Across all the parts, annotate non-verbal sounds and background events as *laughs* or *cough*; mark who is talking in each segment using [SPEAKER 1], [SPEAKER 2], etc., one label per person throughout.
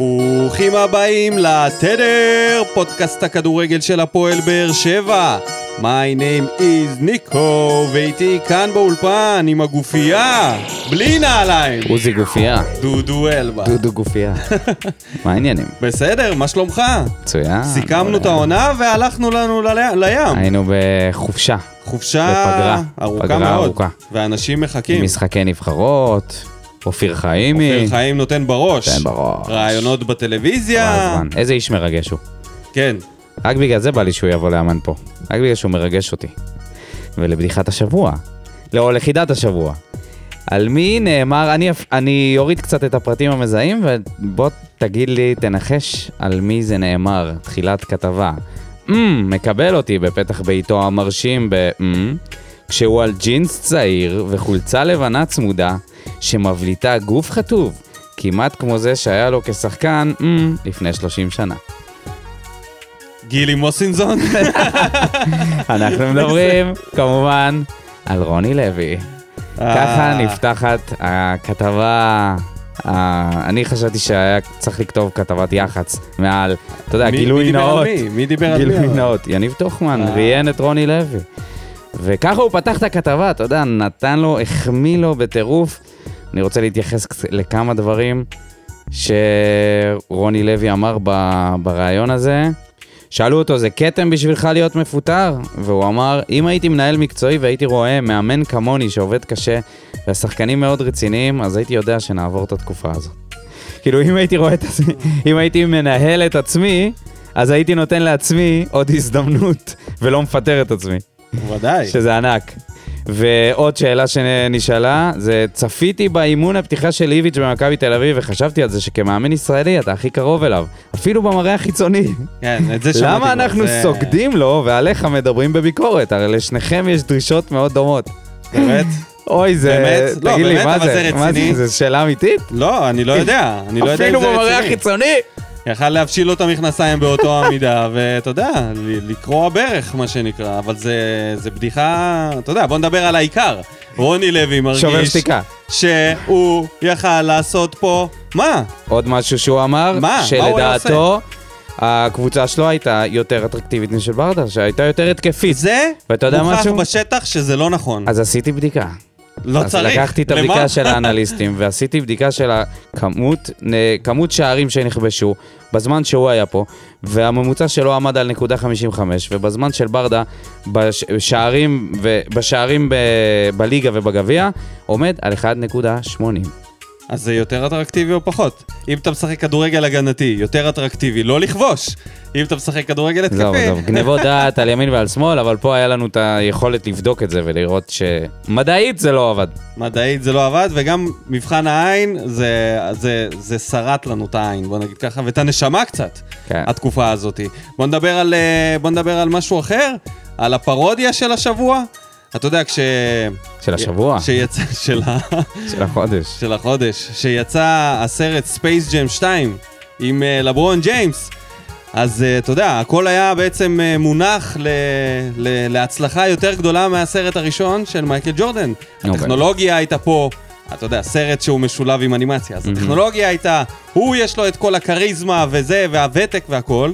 [SPEAKER 1] ברוכים הבאים לתדר, פודקאסט הכדורגל של הפועל באר שבע. My name is ניקו, ואיתי כאן באולפן עם הגופייה, בלי נעליים,
[SPEAKER 2] עוזי גופייה.
[SPEAKER 1] דודו אלבה.
[SPEAKER 2] דודו גופייה. *laughs* מה העניינים?
[SPEAKER 1] בסדר, מה שלומך?
[SPEAKER 2] מצוין.
[SPEAKER 1] סיכמנו את העונה והלכנו לנו ל- לים.
[SPEAKER 2] היינו בחופשה,
[SPEAKER 1] חופשה
[SPEAKER 2] אה, בפגרה.
[SPEAKER 1] ארוכה
[SPEAKER 2] פגרה
[SPEAKER 1] מאוד,
[SPEAKER 2] ארוכה.
[SPEAKER 1] ואנשים מחכים.
[SPEAKER 2] עם משחקי נבחרות, אופיר חיימי.
[SPEAKER 1] כן. אופיר חיים נותן בראש.
[SPEAKER 2] נותן בראש.
[SPEAKER 1] רעיונות בטלוויזיה.
[SPEAKER 2] הזמן. איזה איש מרגש הוא.
[SPEAKER 1] כן.
[SPEAKER 2] רק בגלל זה בא לי שהוא יבוא לאמן פה. רק בגלל שהוא מרגש אותי. ולבדיחת השבוע. לא, או לחידת השבוע. על מי נאמר, אני, אפ- אני אוריד קצת את הפרטים המזהים, ובוא תגיד לי, תנחש על מי זה נאמר, תחילת כתבה. Mm, מקבל אותי בפתח ביתו המרשים ב... Mm, כשהוא על ג'ינס צעיר וחולצה לבנה צמודה, שמבליטה גוף חטוב, כמעט כמו זה שהיה לו כשחקן mm, לפני 30 שנה.
[SPEAKER 1] גילי
[SPEAKER 2] *laughs*
[SPEAKER 1] מוסינזון? *laughs*
[SPEAKER 2] אנחנו מדברים, כמובן, על רוני לוי. ככה
[SPEAKER 1] אה.
[SPEAKER 2] נפתחת הכתבה... אה, אני חשבתי שהיה צריך לכתוב כתבת יח"צ מעל, אתה יודע,
[SPEAKER 1] מי-
[SPEAKER 2] גילוי
[SPEAKER 1] מי דיבר על
[SPEAKER 2] נאות.
[SPEAKER 1] מי? מי דיבר על מי?
[SPEAKER 2] גילוי
[SPEAKER 1] אבל?
[SPEAKER 2] נאות. יניב טוחמן
[SPEAKER 1] אה.
[SPEAKER 2] ראיין את רוני לוי. וככה הוא פתח את הכתבה, אתה יודע, נתן לו, החמיא לו בטירוף. אני רוצה להתייחס קצ- לכמה דברים שרוני לוי אמר ב- בריאיון הזה. שאלו אותו, זה כתם בשבילך להיות מפוטר? והוא אמר, אם הייתי מנהל מקצועי והייתי רואה מאמן כמוני שעובד קשה והשחקנים מאוד רציניים, אז הייתי יודע שנעבור את התקופה הזאת. כאילו, אם הייתי רואה את עצמי, אם הייתי מנהל את עצמי, אז הייתי נותן לעצמי עוד הזדמנות ולא מפטר את עצמי.
[SPEAKER 1] ודאי.
[SPEAKER 2] שזה ענק. ועוד שאלה שנשאלה, זה צפיתי באימון הפתיחה של איביץ' במכבי תל אביב וחשבתי על זה שכמאמן ישראלי אתה הכי קרוב אליו, אפילו במראה החיצוני.
[SPEAKER 1] כן, את זה שמעתי.
[SPEAKER 2] למה
[SPEAKER 1] כבר,
[SPEAKER 2] אנחנו
[SPEAKER 1] זה-
[SPEAKER 2] סוגדים לו ועליך מדברים בביקורת? הרי לשניכם יש דרישות מאוד דומות.
[SPEAKER 1] באמת?
[SPEAKER 2] אוי, זה...
[SPEAKER 1] באמת? לא,
[SPEAKER 2] תגיד לי,
[SPEAKER 1] באמת,
[SPEAKER 2] מה
[SPEAKER 1] אבל זה
[SPEAKER 2] מה
[SPEAKER 1] רציני.
[SPEAKER 2] זו שאלה אמיתית?
[SPEAKER 1] לא,
[SPEAKER 2] *laughs*
[SPEAKER 1] אני לא יודע. אני לא יודע אם
[SPEAKER 2] אפילו
[SPEAKER 1] זה
[SPEAKER 2] במראה
[SPEAKER 1] רציני.
[SPEAKER 2] החיצוני?
[SPEAKER 1] יכל להבשיל לו את המכנסיים באותו *laughs* המידה, ואתה יודע, ל- לקרוע ברך, מה שנקרא, אבל זה, זה בדיחה, אתה יודע, בוא נדבר על העיקר. רוני לוי
[SPEAKER 2] שובר
[SPEAKER 1] מרגיש
[SPEAKER 2] שתיקה.
[SPEAKER 1] שהוא יכל לעשות פה, מה?
[SPEAKER 2] עוד משהו שהוא אמר,
[SPEAKER 1] מה? מה הוא היה
[SPEAKER 2] שלדעתו הקבוצה שלו הייתה יותר אטרקטיבית משל ברדה, שהייתה יותר התקפית.
[SPEAKER 1] זה
[SPEAKER 2] ואתה יודע
[SPEAKER 1] מוכח
[SPEAKER 2] משהו?
[SPEAKER 1] בשטח שזה לא נכון.
[SPEAKER 2] אז עשיתי בדיקה.
[SPEAKER 1] לא
[SPEAKER 2] אז
[SPEAKER 1] צריך.
[SPEAKER 2] לקחתי את
[SPEAKER 1] למה?
[SPEAKER 2] הבדיקה
[SPEAKER 1] *laughs*
[SPEAKER 2] של האנליסטים ועשיתי בדיקה של הכמות, נ- כמות שערים שנכבשו בזמן שהוא היה פה, והממוצע שלו עמד על נקודה 55, ובזמן של ברדה, בש- שערים ו- בשערים ב- בליגה ובגביע, עומד על 1.80.
[SPEAKER 1] אז זה יותר אטרקטיבי או פחות? אם אתה משחק כדורגל הגנתי, יותר אטרקטיבי לא לכבוש. אם אתה משחק כדורגל
[SPEAKER 2] עזוב,
[SPEAKER 1] התקפי,
[SPEAKER 2] עזוב, גנבות דעת על ימין ועל שמאל, אבל פה היה לנו את היכולת לבדוק את זה ולראות שמדעית זה לא עבד.
[SPEAKER 1] מדעית זה לא עבד, וגם מבחן העין, זה, זה, זה שרט לנו את העין, בוא נגיד ככה, ואת הנשמה קצת,
[SPEAKER 2] כן.
[SPEAKER 1] התקופה הזאת. בוא נדבר על, אה, בוא נדבר על משהו אחר, על הפרודיה של השבוע. אתה יודע, כש...
[SPEAKER 2] של השבוע,
[SPEAKER 1] שיצא, של, ה...
[SPEAKER 2] של החודש.
[SPEAKER 1] של החודש, שיצא הסרט ספייס ג'ם 2 עם אה, לברון ג'יימס, אז אה, אתה יודע, הכל היה בעצם אה, מונח ל... ל... להצלחה יותר גדולה מהסרט הראשון של מייקל ג'ורדן.
[SPEAKER 2] אוקיי.
[SPEAKER 1] הטכנולוגיה הייתה פה, אתה יודע, סרט שהוא משולב עם אנימציה, אז הטכנולוגיה הייתה, הוא יש לו את כל הכריזמה וזה, והוותק והכל.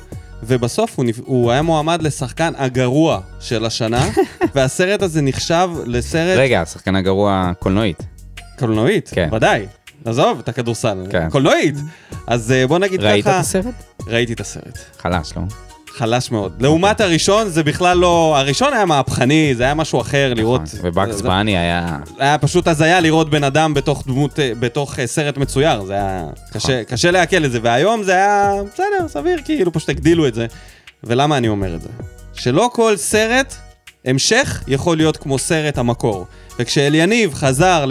[SPEAKER 1] ובסוף הוא, נפ... הוא היה מועמד לשחקן הגרוע של השנה, והסרט הזה נחשב לסרט
[SPEAKER 2] רגע, השחקן הגרוע קולנועית.
[SPEAKER 1] קולנועית,
[SPEAKER 2] כן.
[SPEAKER 1] ודאי. עזוב את הכדורסל,
[SPEAKER 2] כן.
[SPEAKER 1] קולנועית. אז אה, בוא נגיד
[SPEAKER 2] ראית את
[SPEAKER 1] ככה,
[SPEAKER 2] הסרט?
[SPEAKER 1] ראיתי את הסרט.
[SPEAKER 2] חלש, לא?
[SPEAKER 1] חלש מאוד. לעומת
[SPEAKER 2] אוקיי.
[SPEAKER 1] הראשון, זה בכלל לא... הראשון היה מהפכני, זה היה משהו אחר לראות...
[SPEAKER 2] נכון, אה, ובקס
[SPEAKER 1] זה-
[SPEAKER 2] פאני היה...
[SPEAKER 1] היה פשוט הזיה לראות בן אדם בתוך דמות, אה, בתוך אה, סרט מצויר, זה היה קשה, קשה לעכל את זה, והיום זה היה בסדר, סביר, כאילו פשוט הגדילו את זה. ולמה אני אומר את זה? שלא כל סרט המשך יכול להיות כמו סרט המקור. וכשאליניב חזר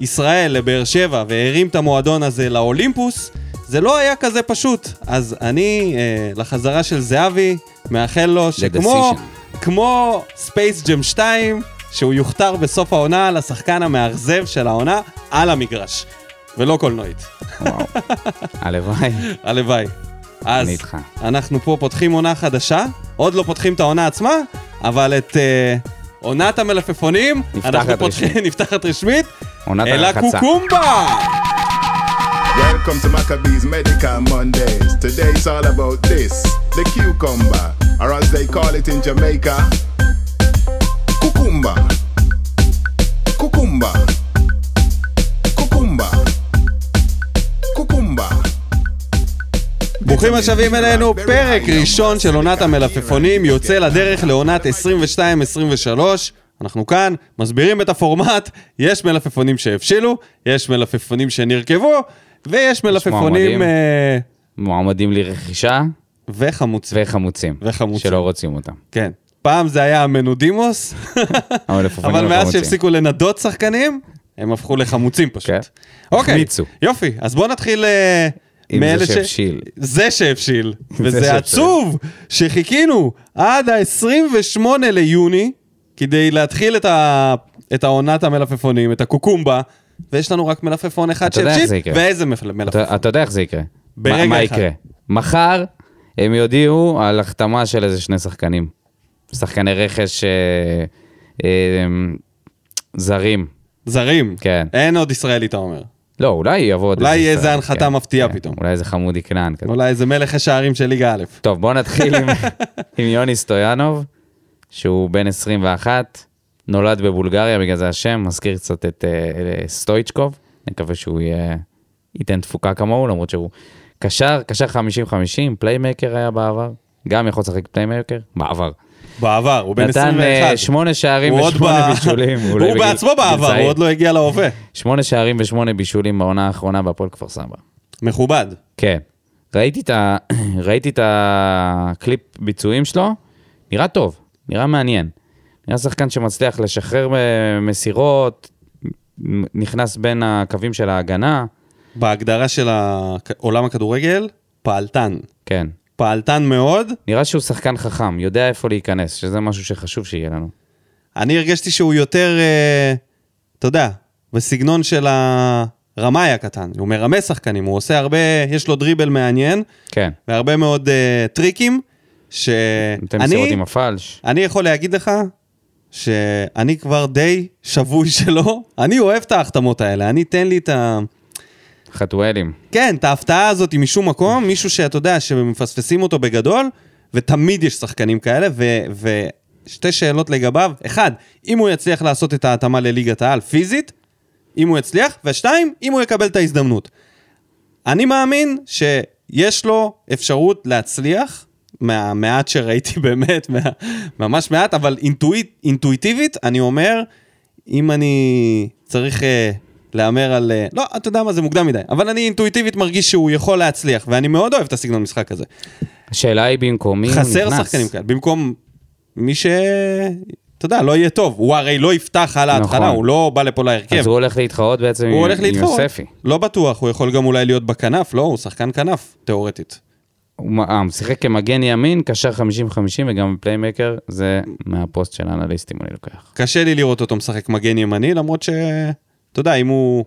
[SPEAKER 1] לישראל, לבאר שבע, והרים את המועדון הזה לאולימפוס, זה לא היה כזה פשוט. אז אני, אה, לחזרה של זהבי, מאחל לו שכמו...
[SPEAKER 2] decision.
[SPEAKER 1] כמו ספייס ג'ם 2, שהוא יוכתר בסוף העונה לשחקן המאכזב של העונה על המגרש, ולא קולנועית. *laughs*
[SPEAKER 2] וואו. הלוואי.
[SPEAKER 1] הלוואי. אז
[SPEAKER 2] אני איתך.
[SPEAKER 1] אנחנו פה פותחים עונה חדשה, עוד לא פותחים את העונה עצמה, אבל את אה, עונת המלפפונים, *laughs*
[SPEAKER 2] נפתחת
[SPEAKER 1] אנחנו פותחים, נפתחת רשמית,
[SPEAKER 2] עונת
[SPEAKER 1] אל
[SPEAKER 2] הרחצה.
[SPEAKER 1] הקוקומבה!
[SPEAKER 3] Welcome to Maccabees Medical Mondays. Today it's all about this the cucumber, or as they call it in Jamaica, cucumba. Cucumba. Cucumba. Cucumba.
[SPEAKER 1] ברוכים השבים אלינו, פרק ראשון של עונת המלפפונים יוצא לדרך לעונת 22-23. אנחנו כאן, מסבירים את הפורמט, יש מלפפונים שהבשילו, יש מלפפונים שנרקבו, ויש מלפפונים
[SPEAKER 2] מועמדים.
[SPEAKER 1] אה,
[SPEAKER 2] מועמדים לרכישה
[SPEAKER 1] וחמוצים.
[SPEAKER 2] וחמוצים.
[SPEAKER 1] וחמוצים.
[SPEAKER 2] שלא רוצים אותם.
[SPEAKER 1] כן. פעם זה היה
[SPEAKER 2] *laughs*
[SPEAKER 1] המנודימוס,
[SPEAKER 2] המלפפונים
[SPEAKER 1] אבל מאז
[SPEAKER 2] וחמוצים.
[SPEAKER 1] שהפסיקו לנדות שחקנים, הם הפכו לחמוצים פשוט.
[SPEAKER 2] כן.
[SPEAKER 1] אוקיי,
[SPEAKER 2] החמיצו.
[SPEAKER 1] יופי, אז בואו נתחיל אה,
[SPEAKER 2] עם זה
[SPEAKER 1] מאלה ש...
[SPEAKER 2] שהבשיל.
[SPEAKER 1] זה
[SPEAKER 2] *laughs*
[SPEAKER 1] שהבשיל. וזה
[SPEAKER 2] שהבשיל.
[SPEAKER 1] עצוב שחיכינו עד ה-28 ליוני כדי להתחיל את, ה... את העונת המלפפונים, את הקוקומבה, ויש לנו רק מלפפון אחד
[SPEAKER 2] אתה יודע איך זה
[SPEAKER 1] שהבשיל,
[SPEAKER 2] יקרה.
[SPEAKER 1] ואיזה מפל- מלפפון.
[SPEAKER 2] אתה, אתה יודע איך זה יקרה.
[SPEAKER 1] ברגע
[SPEAKER 2] מה, מה
[SPEAKER 1] אחד.
[SPEAKER 2] יקרה? מחר הם יודיעו על החתמה של איזה שני שחקנים. שחקני רכש אה, אה, זרים.
[SPEAKER 1] זרים.
[SPEAKER 2] כן.
[SPEAKER 1] אין עוד ישראלי, אתה אומר.
[SPEAKER 2] לא, אולי יבוא עוד...
[SPEAKER 1] אה, אולי יהיה
[SPEAKER 2] ישראלי,
[SPEAKER 1] איזה הנחתה מפתיעה פתאום.
[SPEAKER 2] כן, אולי איזה חמודי כנען כזה.
[SPEAKER 1] אולי איזה מלך השערים של ליגה א'.
[SPEAKER 2] טוב, בואו
[SPEAKER 1] *laughs*
[SPEAKER 2] נתחיל עם, עם יוני סטויאנוב, שהוא בן 21, נולד בבולגריה, בגלל זה השם, מזכיר קצת את uh, סטויצ'קוב, נקווה שהוא יהיה, ייתן תפוקה כמוהו, למרות שהוא קשר, קשר 50-50, פליימקר היה בעבר, גם יכול לשחק פליימקר, בעבר.
[SPEAKER 1] בעבר, הוא בן 21.
[SPEAKER 2] נתן אה, שמונה שערים
[SPEAKER 1] הוא עוד
[SPEAKER 2] ושמונה
[SPEAKER 1] ב-
[SPEAKER 2] בישולים. אולי
[SPEAKER 1] הוא
[SPEAKER 2] בגיל-
[SPEAKER 1] בעצמו
[SPEAKER 2] בגיל
[SPEAKER 1] בעבר,
[SPEAKER 2] צעיר.
[SPEAKER 1] הוא עוד לא הגיע להווה.
[SPEAKER 2] שמונה שערים ושמונה בישולים בעונה האחרונה בהפועל כפר סבא.
[SPEAKER 1] מכובד.
[SPEAKER 2] כן. ראיתי את, ה... *clears throat* ראיתי את הקליפ ביצועים שלו, נראה טוב, נראה מעניין. נראה שחקן שמצליח לשחרר אה, מסירות, מ- נכנס בין הקווים של ההגנה,
[SPEAKER 1] בהגדרה של הכ- עולם הכדורגל, פעלתן.
[SPEAKER 2] כן.
[SPEAKER 1] פעלתן מאוד.
[SPEAKER 2] נראה שהוא שחקן חכם, יודע איפה להיכנס, שזה משהו שחשוב שיהיה לנו.
[SPEAKER 1] אני הרגשתי שהוא יותר, אה, אתה יודע, בסגנון של הרמאי הקטן. הוא מרמה שחקנים, הוא עושה הרבה, יש לו דריבל מעניין,
[SPEAKER 2] כן.
[SPEAKER 1] והרבה מאוד אה, טריקים,
[SPEAKER 2] נותן מסירות
[SPEAKER 1] שאני
[SPEAKER 2] עם הפלש.
[SPEAKER 1] אני יכול להגיד לך שאני כבר די שבוי *laughs* שלו. אני אוהב את ההחתמות האלה, אני תן לי את ה...
[SPEAKER 2] חתואלים.
[SPEAKER 1] כן, את ההפתעה הזאת משום מקום, מישהו שאתה יודע, שמפספסים אותו בגדול, ותמיד יש שחקנים כאלה, ו... ושתי שאלות לגביו. אחד, אם הוא יצליח לעשות את ההתאמה לליגת העל פיזית, אם הוא יצליח, ושתיים, אם הוא יקבל את ההזדמנות. אני מאמין שיש לו אפשרות להצליח, מהמעט שראיתי *laughs* באמת, מה, ממש מעט, אבל אינטואיט, אינטואיטיבית, אני אומר, אם אני צריך אה, להמר על... אה, לא, אתה יודע מה, זה מוקדם מדי, אבל אני אינטואיטיבית מרגיש שהוא יכול להצליח, ואני מאוד אוהב את הסגנון משחק הזה.
[SPEAKER 2] השאלה היא במקומי, כן, הוא נכנס.
[SPEAKER 1] חסר שחקנים כאלה, במקום מי ש... אתה יודע, לא יהיה טוב. הוא הרי לא יפתח על ההתחלה,
[SPEAKER 2] נכון.
[SPEAKER 1] הוא לא בא לפה להרכב.
[SPEAKER 2] אז הוא הולך להתחרות בעצם
[SPEAKER 1] הוא
[SPEAKER 2] עם,
[SPEAKER 1] הולך
[SPEAKER 2] עם
[SPEAKER 1] להתחרות.
[SPEAKER 2] יוספי.
[SPEAKER 1] לא בטוח, הוא יכול גם אולי להיות בכנף, לא? הוא שחקן כנף, תיאורטית.
[SPEAKER 2] הוא מ- אה, הוא משחק כמגן ימין, קשר 50-50 וגם פליימקר, זה מהפוסט של האנליסטים אני לוקח.
[SPEAKER 1] קשה לי לראות אותו משחק מגן ימני, למרות ש... אתה יודע, אם הוא...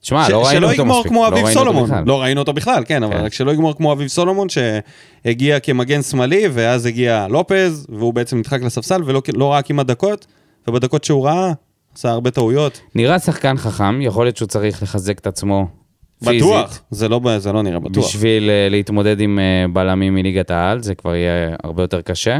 [SPEAKER 2] תשמע,
[SPEAKER 1] ש-
[SPEAKER 2] לא ראינו
[SPEAKER 1] שלא
[SPEAKER 2] אותו
[SPEAKER 1] יגמור
[SPEAKER 2] מספיק.
[SPEAKER 1] כמו
[SPEAKER 2] לא
[SPEAKER 1] אביב
[SPEAKER 2] ראינו אותו
[SPEAKER 1] סולומון.
[SPEAKER 2] בכלל.
[SPEAKER 1] לא ראינו אותו בכלל, כן, אבל
[SPEAKER 2] כן.
[SPEAKER 1] רק שלא יגמור כמו אביב סולומון, שהגיע כמגן שמאלי, ואז הגיע לופז, והוא בעצם נדחק לספסל, ולא לא ראה כמעט דקות, ובדקות שהוא ראה, עשה הרבה טעויות.
[SPEAKER 2] נראה שחקן חכם, יכול להיות שהוא צריך לחזק את עצמו פיזית.
[SPEAKER 1] בטוח. זה לא ב- זה לא נראה בטוח.
[SPEAKER 2] בשביל אה, להתמודד עם אה, בלמים מליגת העל, זה כבר יהיה הרבה יותר קשה.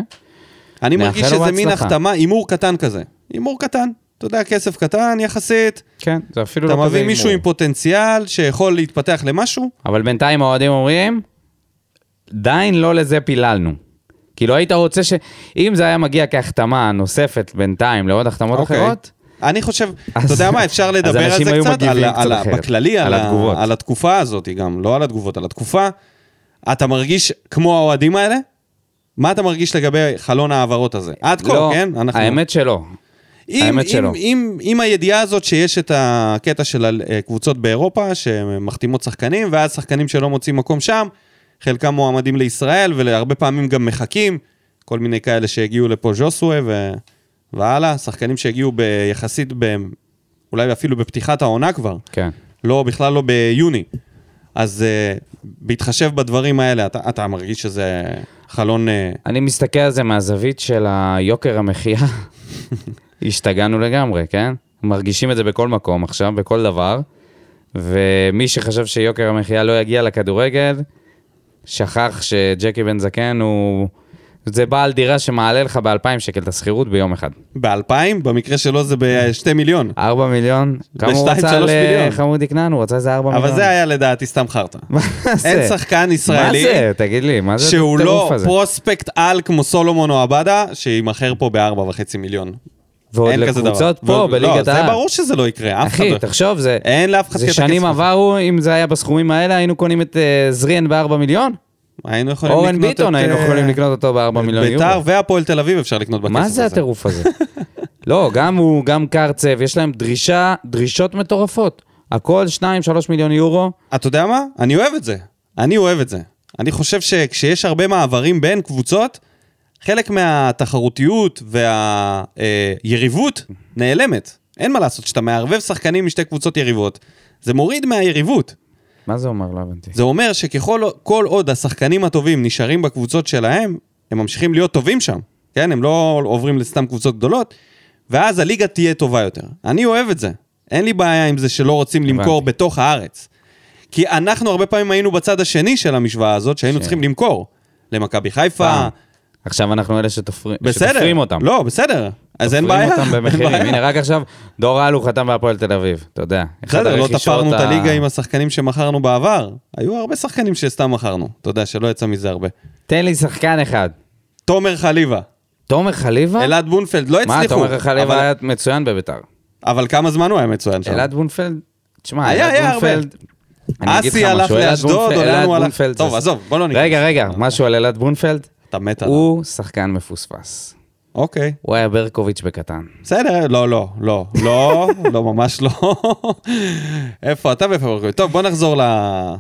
[SPEAKER 1] אני
[SPEAKER 2] נאחל
[SPEAKER 1] מרגיש
[SPEAKER 2] לו
[SPEAKER 1] שזה מין
[SPEAKER 2] הצלחה.
[SPEAKER 1] החתמה, הימור קטן כזה. הימור קטן. אתה יודע, כסף קטן יחסית,
[SPEAKER 2] כן, זה אפילו
[SPEAKER 1] אתה
[SPEAKER 2] לא כזה
[SPEAKER 1] מביא מישהו עם
[SPEAKER 2] הימור.
[SPEAKER 1] פוטנציאל שיכול להתפתח למשהו,
[SPEAKER 2] אבל בינתיים האוהדים אומרים, עדיין לא לזה פיללנו. כאילו היית רוצה ש... אם זה היה מגיע כהחתמה נוספת בינתיים לעוד החתמות
[SPEAKER 1] אוקיי.
[SPEAKER 2] אחרות,
[SPEAKER 1] אני חושב,
[SPEAKER 2] אז-
[SPEAKER 1] אתה יודע מה, אפשר
[SPEAKER 2] אז
[SPEAKER 1] לדבר על
[SPEAKER 2] אנשים
[SPEAKER 1] זה
[SPEAKER 2] היו
[SPEAKER 1] קצת,
[SPEAKER 2] מגיבים
[SPEAKER 1] על,
[SPEAKER 2] קצת
[SPEAKER 1] על, ה-
[SPEAKER 2] אחרת.
[SPEAKER 1] בכללי, על,
[SPEAKER 2] על
[SPEAKER 1] ה-
[SPEAKER 2] התגובות.
[SPEAKER 1] על התקופה הזאת גם, לא על התגובות, על התקופה. אתה מרגיש כמו האוהדים האלה? מה אתה מרגיש לגבי חלון ההעברות הזה? עד כה,
[SPEAKER 2] לא,
[SPEAKER 1] כן? אנחנו-
[SPEAKER 2] האמת שלא.
[SPEAKER 1] אם,
[SPEAKER 2] האמת
[SPEAKER 1] אם,
[SPEAKER 2] שלא.
[SPEAKER 1] אם, אם הידיעה הזאת שיש את הקטע של הקבוצות באירופה, שמחתימות שחקנים, ואז שחקנים שלא מוצאים מקום שם, חלקם מועמדים לישראל, והרבה פעמים גם מחכים, כל מיני כאלה שהגיעו לפה ז'וסווה ו... והלאה, שחקנים שהגיעו ביחסית, ב... אולי אפילו בפתיחת העונה כבר,
[SPEAKER 2] כן.
[SPEAKER 1] לא, בכלל לא ביוני. אז uh, בהתחשב בדברים האלה, אתה, אתה מרגיש שזה חלון... Uh...
[SPEAKER 2] אני מסתכל על זה מהזווית של
[SPEAKER 1] *laughs*
[SPEAKER 2] היוקר המחיה. השתגענו לגמרי, כן? מרגישים את זה בכל מקום עכשיו, בכל דבר. ומי שחשב שיוקר המחיה לא יגיע לכדורגל, שכח שג'קי בן זקן הוא... זה בעל דירה שמעלה לך ב-2,000 שקל את השכירות ביום אחד.
[SPEAKER 1] ב-2000, במקרה שלו זה ב-2 מיליון.
[SPEAKER 2] 4 מיליון, כמה הוא
[SPEAKER 1] בשתיים,
[SPEAKER 2] רצה
[SPEAKER 1] שלוש מיליון.
[SPEAKER 2] לחמודי כנען? הוא רצה איזה 4 מיליון.
[SPEAKER 1] אבל זה היה לדעתי סתם חרטא.
[SPEAKER 2] *laughs* מה זה?
[SPEAKER 1] אין שחקן ישראלי
[SPEAKER 2] מה זה? תגיד לי, מה זה
[SPEAKER 1] שהוא לא
[SPEAKER 2] הטירוף הזה?
[SPEAKER 1] פרוספקט על כמו סולומון או עבדה, שימכר פה ב-4.5 מיליון.
[SPEAKER 2] ועוד
[SPEAKER 1] אין כזה דבר.
[SPEAKER 2] לקבוצות פה,
[SPEAKER 1] ועוד-
[SPEAKER 2] בליגת
[SPEAKER 1] לא,
[SPEAKER 2] העל.
[SPEAKER 1] זה ברור שזה לא יקרה, אף אחד
[SPEAKER 2] אחי,
[SPEAKER 1] לא-
[SPEAKER 2] תחשוב, זה...
[SPEAKER 1] אין לאף אחד
[SPEAKER 2] זה
[SPEAKER 1] כסף.
[SPEAKER 2] שנים עברו, אם זה היה בסכומים האלה, היינו קונים את אה, זריאן ב-4 מיליון?
[SPEAKER 1] היינו יכולים לקנות
[SPEAKER 2] אורן
[SPEAKER 1] את...
[SPEAKER 2] ביטון, היינו
[SPEAKER 1] אה,
[SPEAKER 2] יכולים לקנות אותו ב-4 מיליון יורו.
[SPEAKER 1] ביתר והפועל תל אביב אפשר לקנות בכסף הזה.
[SPEAKER 2] מה זה
[SPEAKER 1] *laughs*
[SPEAKER 2] הטירוף הזה? לא, גם הוא, גם קרצב, יש להם דרישה, דרישות מטורפות. הכל 2-3 מיליון יורו.
[SPEAKER 1] אתה יודע מה? אני אוהב את זה. אני אוהב את זה. אני חושב שכשיש הרבה מעברים בין קבוצות, חלק מהתחרותיות והיריבות נעלמת. אין מה לעשות, כשאתה מערבב שחקנים משתי קבוצות יריבות, זה מוריד מהיריבות.
[SPEAKER 2] מה זה אומר? לא הבנתי.
[SPEAKER 1] זה אומר שככל כל עוד השחקנים הטובים נשארים בקבוצות שלהם, הם ממשיכים להיות טובים שם, כן? הם לא עוברים לסתם קבוצות גדולות, ואז הליגה תהיה טובה יותר. אני אוהב את זה. אין לי בעיה עם זה שלא רוצים למכור
[SPEAKER 2] הבנתי.
[SPEAKER 1] בתוך הארץ. כי אנחנו הרבה פעמים היינו בצד השני של המשוואה הזאת, שהיינו
[SPEAKER 2] ש-
[SPEAKER 1] צריכים למכור. למכבי חיפה,
[SPEAKER 2] פעם. עכשיו אנחנו אלה שתופרים
[SPEAKER 1] בסדר.
[SPEAKER 2] שתופרים אותם.
[SPEAKER 1] לא, בסדר. אז אין בעיה.
[SPEAKER 2] תופרים
[SPEAKER 1] *laughs*
[SPEAKER 2] אותם
[SPEAKER 1] אין
[SPEAKER 2] במחירים.
[SPEAKER 1] בעיה.
[SPEAKER 2] הנה, רק עכשיו דור אלו חתם בהפועל תל אביב, אתה יודע. אחד
[SPEAKER 1] בסדר, לא
[SPEAKER 2] הרכישות
[SPEAKER 1] תפרנו את
[SPEAKER 2] ה-
[SPEAKER 1] הליגה עם השחקנים שמכרנו בעבר. היו הרבה שחקנים שסתם מכרנו. אתה יודע, שלא יצא מזה הרבה.
[SPEAKER 2] תן לי שחקן אחד.
[SPEAKER 1] תומר חליבה.
[SPEAKER 2] תומר חליבה?
[SPEAKER 1] אלעד בונפלד לא הצליחו.
[SPEAKER 2] מה, תומר
[SPEAKER 1] אבל-
[SPEAKER 2] חליבה היה מצוין בביתר.
[SPEAKER 1] אבל כמה זמן הוא היה מצוין שם?
[SPEAKER 2] אלעד בונפלד? תשמע,
[SPEAKER 1] היה, היה
[SPEAKER 2] אלעד
[SPEAKER 1] הרבה.
[SPEAKER 2] בונפלד... אני אגיד לך
[SPEAKER 1] אסי הלך
[SPEAKER 2] משהו, אלעד
[SPEAKER 1] לאשדוד,
[SPEAKER 2] בונפלד-
[SPEAKER 1] עולנו
[SPEAKER 2] אלעד
[SPEAKER 1] הלך-
[SPEAKER 2] בונפלד
[SPEAKER 1] טוב,
[SPEAKER 2] זה-
[SPEAKER 1] עזוב, בוא לא ניכנס.
[SPEAKER 2] רגע, רגע, משהו על אלעד בונפלד.
[SPEAKER 1] אתה מת עליו.
[SPEAKER 2] הוא שחקן מפוספס.
[SPEAKER 1] אוקיי.
[SPEAKER 2] הוא היה ברקוביץ' בקטן.
[SPEAKER 1] בסדר, לא, לא, לא,
[SPEAKER 2] *laughs*
[SPEAKER 1] לא, לא, ממש לא. איפה אתה ואיפה ברקוביץ'? טוב, בוא נחזור ל-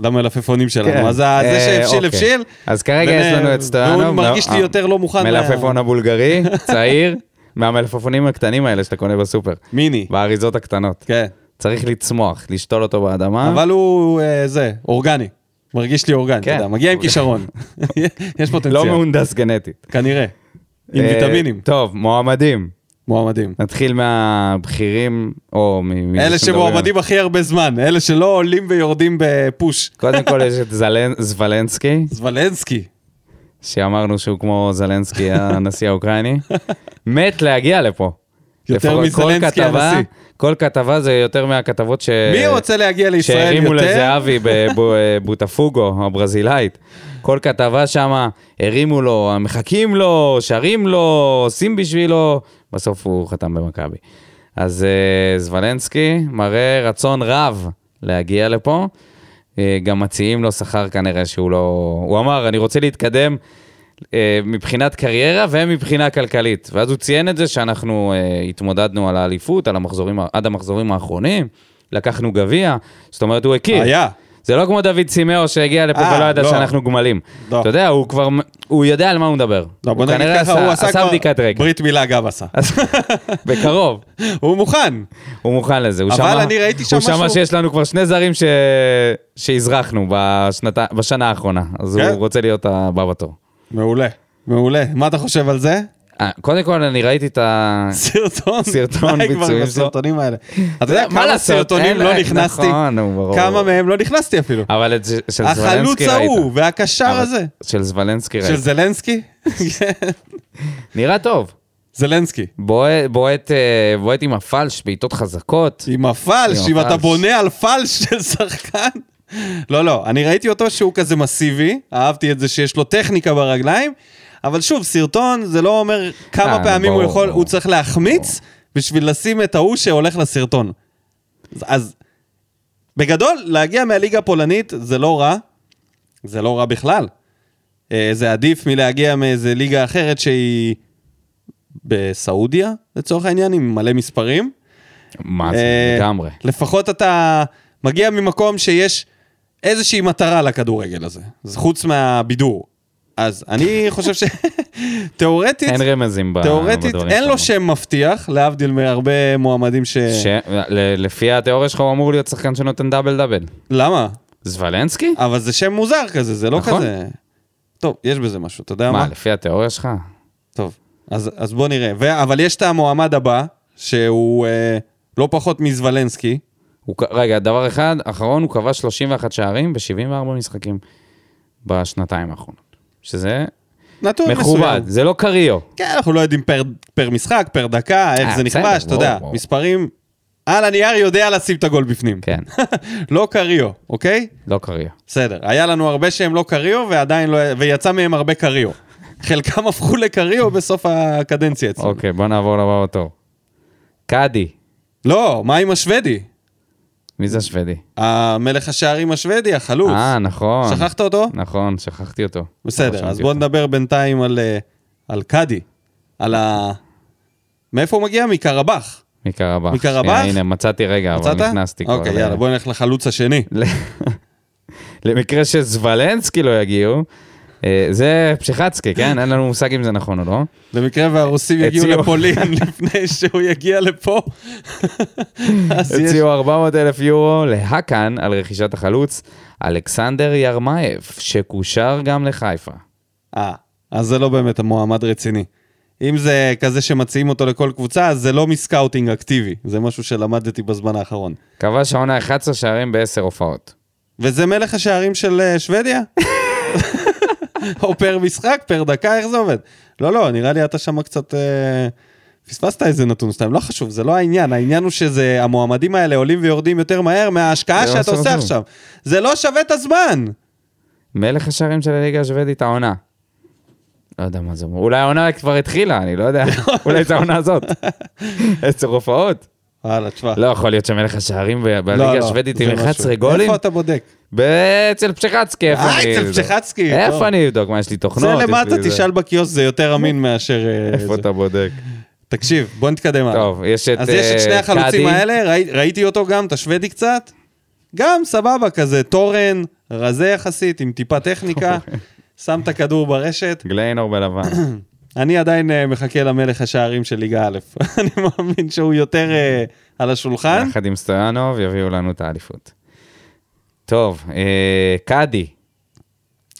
[SPEAKER 1] למלפפונים שלנו. כן. אז ה- זה
[SPEAKER 2] אה,
[SPEAKER 1] שהבשיל,
[SPEAKER 2] אוקיי.
[SPEAKER 1] הבשיל.
[SPEAKER 2] אז כרגע
[SPEAKER 1] ונ-
[SPEAKER 2] יש לנו את סטויאנוב.
[SPEAKER 1] והוא מרגיש לי
[SPEAKER 2] אה,
[SPEAKER 1] יותר לא מוכן.
[SPEAKER 2] מלפפון
[SPEAKER 1] מה-
[SPEAKER 2] הבולגרי,
[SPEAKER 1] *laughs*
[SPEAKER 2] צעיר, מהמלפפונים הקטנים האלה שאתה קונה בסופר.
[SPEAKER 1] *laughs* מיני.
[SPEAKER 2] באריזות הקטנות.
[SPEAKER 1] כן.
[SPEAKER 2] צריך לצמוח, לשתול אותו באדמה.
[SPEAKER 1] אבל הוא, אה, זה, אורגני. מרגיש לי אורגני, אתה
[SPEAKER 2] כן.
[SPEAKER 1] יודע, מגיע עם כישרון. *laughs* יש
[SPEAKER 2] לא
[SPEAKER 1] פוטנציאל,
[SPEAKER 2] מהונדס גנטית.
[SPEAKER 1] כנראה. עם
[SPEAKER 2] אה,
[SPEAKER 1] ויטמינים,
[SPEAKER 2] טוב, מועמדים.
[SPEAKER 1] מועמדים.
[SPEAKER 2] נתחיל מהבכירים, או מ... מי
[SPEAKER 1] אלה
[SPEAKER 2] שמדברים.
[SPEAKER 1] שמועמדים הכי הרבה זמן, אלה שלא עולים ויורדים בפוש.
[SPEAKER 2] קודם כל יש את זלנ- זוולנסקי,
[SPEAKER 1] זוולנסקי.
[SPEAKER 2] שאמרנו שהוא כמו זלנסקי הנשיא האוקראיני. מת להגיע לפה.
[SPEAKER 1] יותר
[SPEAKER 2] לפחות כל
[SPEAKER 1] מזלנסקי
[SPEAKER 2] כתבה-
[SPEAKER 1] הנשיא.
[SPEAKER 2] כל כתבה זה יותר מהכתבות ש...
[SPEAKER 1] מי רוצה להגיע לישראל
[SPEAKER 2] אה, שהרימו
[SPEAKER 1] יותר?
[SPEAKER 2] לזהבי בבוטפוגו, אה, הברזילאית. כל כתבה שם, הרימו לו, מחכים לו, שרים לו, עושים בשבילו, בסוף הוא חתם במכבי. אז אה, זוולנסקי מראה רצון רב להגיע לפה. אה, גם מציעים לו שכר כנראה שהוא לא... הוא אמר, אני רוצה להתקדם אה, מבחינת קריירה ומבחינה כלכלית. ואז הוא ציין את זה שאנחנו אה, התמודדנו על האליפות, על המחזורים, ה- עד המחזורים האחרונים, לקחנו גביע, זאת אומרת, הוא הכיר.
[SPEAKER 1] היה.
[SPEAKER 2] זה לא כמו דוד סימאו שהגיע לפה
[SPEAKER 1] אה,
[SPEAKER 2] ולא ידע
[SPEAKER 1] לא.
[SPEAKER 2] שאנחנו גמלים.
[SPEAKER 1] לא.
[SPEAKER 2] אתה יודע, הוא כבר... הוא יודע על מה הוא מדבר.
[SPEAKER 1] לא, בוא
[SPEAKER 2] הוא
[SPEAKER 1] נגיד
[SPEAKER 2] כנראה
[SPEAKER 1] ככה, הוא עשה
[SPEAKER 2] עשה
[SPEAKER 1] כבר
[SPEAKER 2] בדיקת רגל.
[SPEAKER 1] ברית מילה גם עשה.
[SPEAKER 2] *laughs* בקרוב.
[SPEAKER 1] *laughs* הוא מוכן.
[SPEAKER 2] הוא מוכן לזה. הוא
[SPEAKER 1] אבל
[SPEAKER 2] שמע-
[SPEAKER 1] אני ראיתי שם
[SPEAKER 2] הוא שמע
[SPEAKER 1] משהו-
[SPEAKER 2] שיש לנו כבר שני זרים ש... שהזרחנו בשנת... בשנה האחרונה, אז
[SPEAKER 1] כן?
[SPEAKER 2] הוא רוצה להיות הבא בתור.
[SPEAKER 1] מעולה. מעולה. מה אתה חושב על זה?
[SPEAKER 2] אה, קודם כל, אני ראיתי את ה...
[SPEAKER 1] סרטון.
[SPEAKER 2] סרטון
[SPEAKER 1] די כבר עם
[SPEAKER 2] ביצועים שלו.
[SPEAKER 1] הסרטונים האלה. אתה יודע
[SPEAKER 2] לא, מה
[SPEAKER 1] כמה
[SPEAKER 2] לעשות,
[SPEAKER 1] סרטונים
[SPEAKER 2] אין-
[SPEAKER 1] לא
[SPEAKER 2] אין-
[SPEAKER 1] נכנסתי?
[SPEAKER 2] נכון, נו, ברור.
[SPEAKER 1] כמה מהם לא נכנסתי אפילו.
[SPEAKER 2] אבל את זה- של
[SPEAKER 1] החלוץ
[SPEAKER 2] זוולנסקי ראית.
[SPEAKER 1] ההוא והקשר
[SPEAKER 2] אבל-
[SPEAKER 1] הזה.
[SPEAKER 2] של זוולנסקי
[SPEAKER 1] של
[SPEAKER 2] ראית. *laughs*
[SPEAKER 1] זלנסקי? כן.
[SPEAKER 2] נראה טוב.
[SPEAKER 1] זלנסקי.
[SPEAKER 2] בועט- בועט אה, בועט עם הפלש, בעיטות חזקות.
[SPEAKER 1] עם הפלש,
[SPEAKER 2] עם
[SPEAKER 1] אם אתה
[SPEAKER 2] הפלש.
[SPEAKER 1] בונה על פלש *laughs* של שחקן. לא, לא, אני ראיתי אותו שהוא כזה מסיבי, אהבתי את זה שיש לו טכניקה ברגליים, אבל שוב, סרטון זה לא אומר כמה
[SPEAKER 2] אה,
[SPEAKER 1] פעמים הוא
[SPEAKER 2] ברור,
[SPEAKER 1] יכול,
[SPEAKER 2] ברור.
[SPEAKER 1] הוא צריך להחמיץ בשביל לשים את ההוא שהולך לסרטון. אז- אז בגדול, להגיע מהליגה הפולנית זה לא רע, זה לא רע בכלל. אה, זה עדיף מלהגיע מאיזה ליגה אחרת שהיא בסעודיה, לצורך העניין, עם מלא מספרים.
[SPEAKER 2] מה זה,
[SPEAKER 1] אה,
[SPEAKER 2] לגמרי.
[SPEAKER 1] לפחות אתה מגיע ממקום שיש איזושהי מטרה לכדורגל הזה, אז חוץ מהבידור. אז אני חושב *laughs* שתאורטית,
[SPEAKER 2] אין רמזים ב-
[SPEAKER 1] תאורטית
[SPEAKER 2] בדברים
[SPEAKER 1] אין לו
[SPEAKER 2] שלנו.
[SPEAKER 1] שם מבטיח, להבדיל מהרבה מועמדים ש...
[SPEAKER 2] ש... ל- לפי התיאוריה שלך הוא אמור להיות שחקן שנותן דאבל דאבל.
[SPEAKER 1] למה?
[SPEAKER 2] זוולנסקי?
[SPEAKER 1] אבל זה שם מוזר כזה, זה לא
[SPEAKER 2] נכון.
[SPEAKER 1] כזה... טוב, יש בזה משהו, אתה יודע מה?
[SPEAKER 2] מה, לפי התיאוריה שלך?
[SPEAKER 1] טוב, אז, אז בוא נראה. ו... אבל יש את המועמד הבא, שהוא אה, לא פחות מזוולנסקי,
[SPEAKER 2] הוא, ק- רגע, דבר אחד, אחרון, הוא כבש 31 שערים ב-74 משחקים בשנתיים האחרונות. שזה
[SPEAKER 1] נתון
[SPEAKER 2] מכובד,
[SPEAKER 1] מסוים.
[SPEAKER 2] זה לא קריו.
[SPEAKER 1] כן, אנחנו לא יודעים פר, פר משחק, פר דקה, איך
[SPEAKER 2] אה,
[SPEAKER 1] זה
[SPEAKER 2] בסדר,
[SPEAKER 1] נכבש, אתה
[SPEAKER 2] ברור,
[SPEAKER 1] יודע,
[SPEAKER 2] ברור.
[SPEAKER 1] מספרים. על הנייר יודע לשים את הגול בפנים.
[SPEAKER 2] כן,
[SPEAKER 1] *laughs* לא קריו, אוקיי?
[SPEAKER 2] לא קריו.
[SPEAKER 1] בסדר. היה לנו הרבה שהם לא קריו, ועדיין לא... ויצא מהם הרבה קריו. חלקם *laughs* הפכו לקריו בסוף הקדנציה אצלנו.
[SPEAKER 2] אוקיי, בוא נעבור לבא בתור. קאדי,
[SPEAKER 1] לא, מה עם השוודי?
[SPEAKER 2] מי זה השוודי?
[SPEAKER 1] המלך השערים השוודי, החלוץ.
[SPEAKER 2] אה, נכון.
[SPEAKER 1] שכחת אותו?
[SPEAKER 2] נכון, שכחתי אותו. לא
[SPEAKER 1] בסדר,
[SPEAKER 2] רשמתי
[SPEAKER 1] אז בוא
[SPEAKER 2] אותו.
[SPEAKER 1] נדבר בינתיים על, אה, על קאדי. על ה... מאיפה הוא מגיע? מקרבח.
[SPEAKER 2] מקרבח.
[SPEAKER 1] מקרבח?
[SPEAKER 2] שנייה, הנה, מצאתי רגע,
[SPEAKER 1] מצאת?
[SPEAKER 2] אבל נכנסתי כבר.
[SPEAKER 1] אוקיי,
[SPEAKER 2] ל-
[SPEAKER 1] יאללה, בוא נלך לחלוץ השני.
[SPEAKER 2] ל- *laughs* למקרה שזוולנסקי לא יגיעו, אה, זה פשיחצקי, כן? אין לנו מושג אם זה נכון או לא.
[SPEAKER 1] במקרה והרוסים יגיעו
[SPEAKER 2] הציעו-
[SPEAKER 1] לפולין *laughs* לפני שהוא יגיע לפה. אז יש-
[SPEAKER 2] הציעו 400 אלף יורו להאקן על רכישת החלוץ, אלכסנדר ירמייב, שקושר גם לחיפה.
[SPEAKER 1] אה, אז זה לא באמת מועמד רציני. אם זה כזה שמציעים אותו לכל קבוצה, אז זה לא מסקאוטינג אקטיבי. זה משהו שלמדתי בזמן האחרון.
[SPEAKER 2] כבש העונה 11 שערים ב-10 הופעות.
[SPEAKER 1] וזה מלך השערים של אה, שוודיה? או פר משחק, פר דקה, איך זה עובד? לא, לא, נראה לי אתה שם קצת... אה, פספסת איזה נתון סתם, לא חשוב, זה לא העניין, העניין הוא שזה, המועמדים האלה עולים ויורדים יותר מהר מההשקעה
[SPEAKER 2] זה
[SPEAKER 1] שאתה
[SPEAKER 2] לא
[SPEAKER 1] עושה
[SPEAKER 2] שווה.
[SPEAKER 1] עכשיו. זה לא שווה את הזמן!
[SPEAKER 2] מלך השערים של הליגה השוודית העונה. לא יודע מה זה אומר. אולי העונה כבר התחילה, אני לא
[SPEAKER 1] *laughs*
[SPEAKER 2] יודע. אולי זה העונה הזאת. 10 הופעות.
[SPEAKER 1] וואלה, תשמע.
[SPEAKER 2] לא יכול להיות שמלך השערים ב-
[SPEAKER 1] לא,
[SPEAKER 2] בליגה
[SPEAKER 1] לא,
[SPEAKER 2] השוודית
[SPEAKER 1] זה
[SPEAKER 2] עם
[SPEAKER 1] משהו.
[SPEAKER 2] 11 גולים.
[SPEAKER 1] איפה אתה בודק?
[SPEAKER 2] ב- אצל פשחצקי, איפה
[SPEAKER 1] אה,
[SPEAKER 2] אני...
[SPEAKER 1] אצל
[SPEAKER 2] אבדוק?
[SPEAKER 1] פשחצקי, טוב.
[SPEAKER 2] איפה אני אבדוק? מה, יש לי תוכנות?
[SPEAKER 1] זה
[SPEAKER 2] יש לי
[SPEAKER 1] למטה,
[SPEAKER 2] זה.
[SPEAKER 1] תשאל בקיוסק, זה יותר אמין מאשר... אה,
[SPEAKER 2] *laughs* איפה
[SPEAKER 1] זה.
[SPEAKER 2] אתה בודק?
[SPEAKER 1] תקשיב, בוא נתקדם הלאה.
[SPEAKER 2] טוב, יש את
[SPEAKER 1] אה. אז יש את
[SPEAKER 2] אה,
[SPEAKER 1] שני החלוצים
[SPEAKER 2] קאדי.
[SPEAKER 1] האלה, ראי- ראיתי אותו גם, את השוודי קצת. גם סבבה, כזה תורן, רזה יחסית, עם טיפה טכניקה. שם את הכדור ברשת.
[SPEAKER 2] גליינור בלבן.
[SPEAKER 1] אני עדיין אה, מחכה למלך השערים של ליגה א'. *laughs* אני מאמין שהוא יותר *coughs* אה, על השולחן.
[SPEAKER 2] יחד עם סטויאנוב יביאו לנו את האליפות. טוב, אה, קאדי.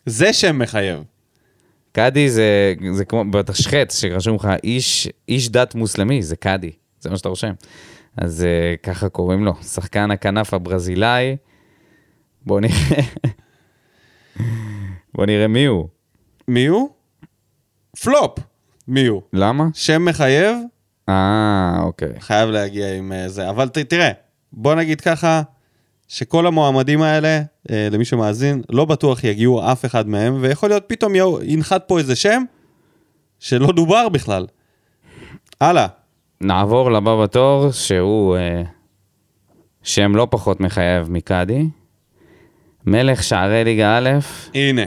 [SPEAKER 1] זה שם מחייב.
[SPEAKER 2] קאדי זה, זה כמו בתשחט שרשום לך איש, איש דת מוסלמי, זה קאדי, זה מה שאתה רושם. אז אה, ככה קוראים לו, שחקן הכנף הברזילאי. בוא נראה. *laughs* בוא נראה מי הוא.
[SPEAKER 1] מי הוא? פלופ. מי הוא?
[SPEAKER 2] למה?
[SPEAKER 1] שם מחייב,
[SPEAKER 2] אה, אוקיי.
[SPEAKER 1] חייב להגיע עם אה, זה. אבל ת, תראה, בוא נגיד ככה, שכל המועמדים האלה, אה, למי שמאזין, לא בטוח יגיעו אף אחד מהם, ויכול להיות פתאום יאו- ינחת פה איזה שם שלא דובר בכלל. הלאה.
[SPEAKER 2] נעבור לבא בתור, שהוא אה, שם לא פחות מחייב מקאדי. מלך שערי ליגה א',
[SPEAKER 1] הנה.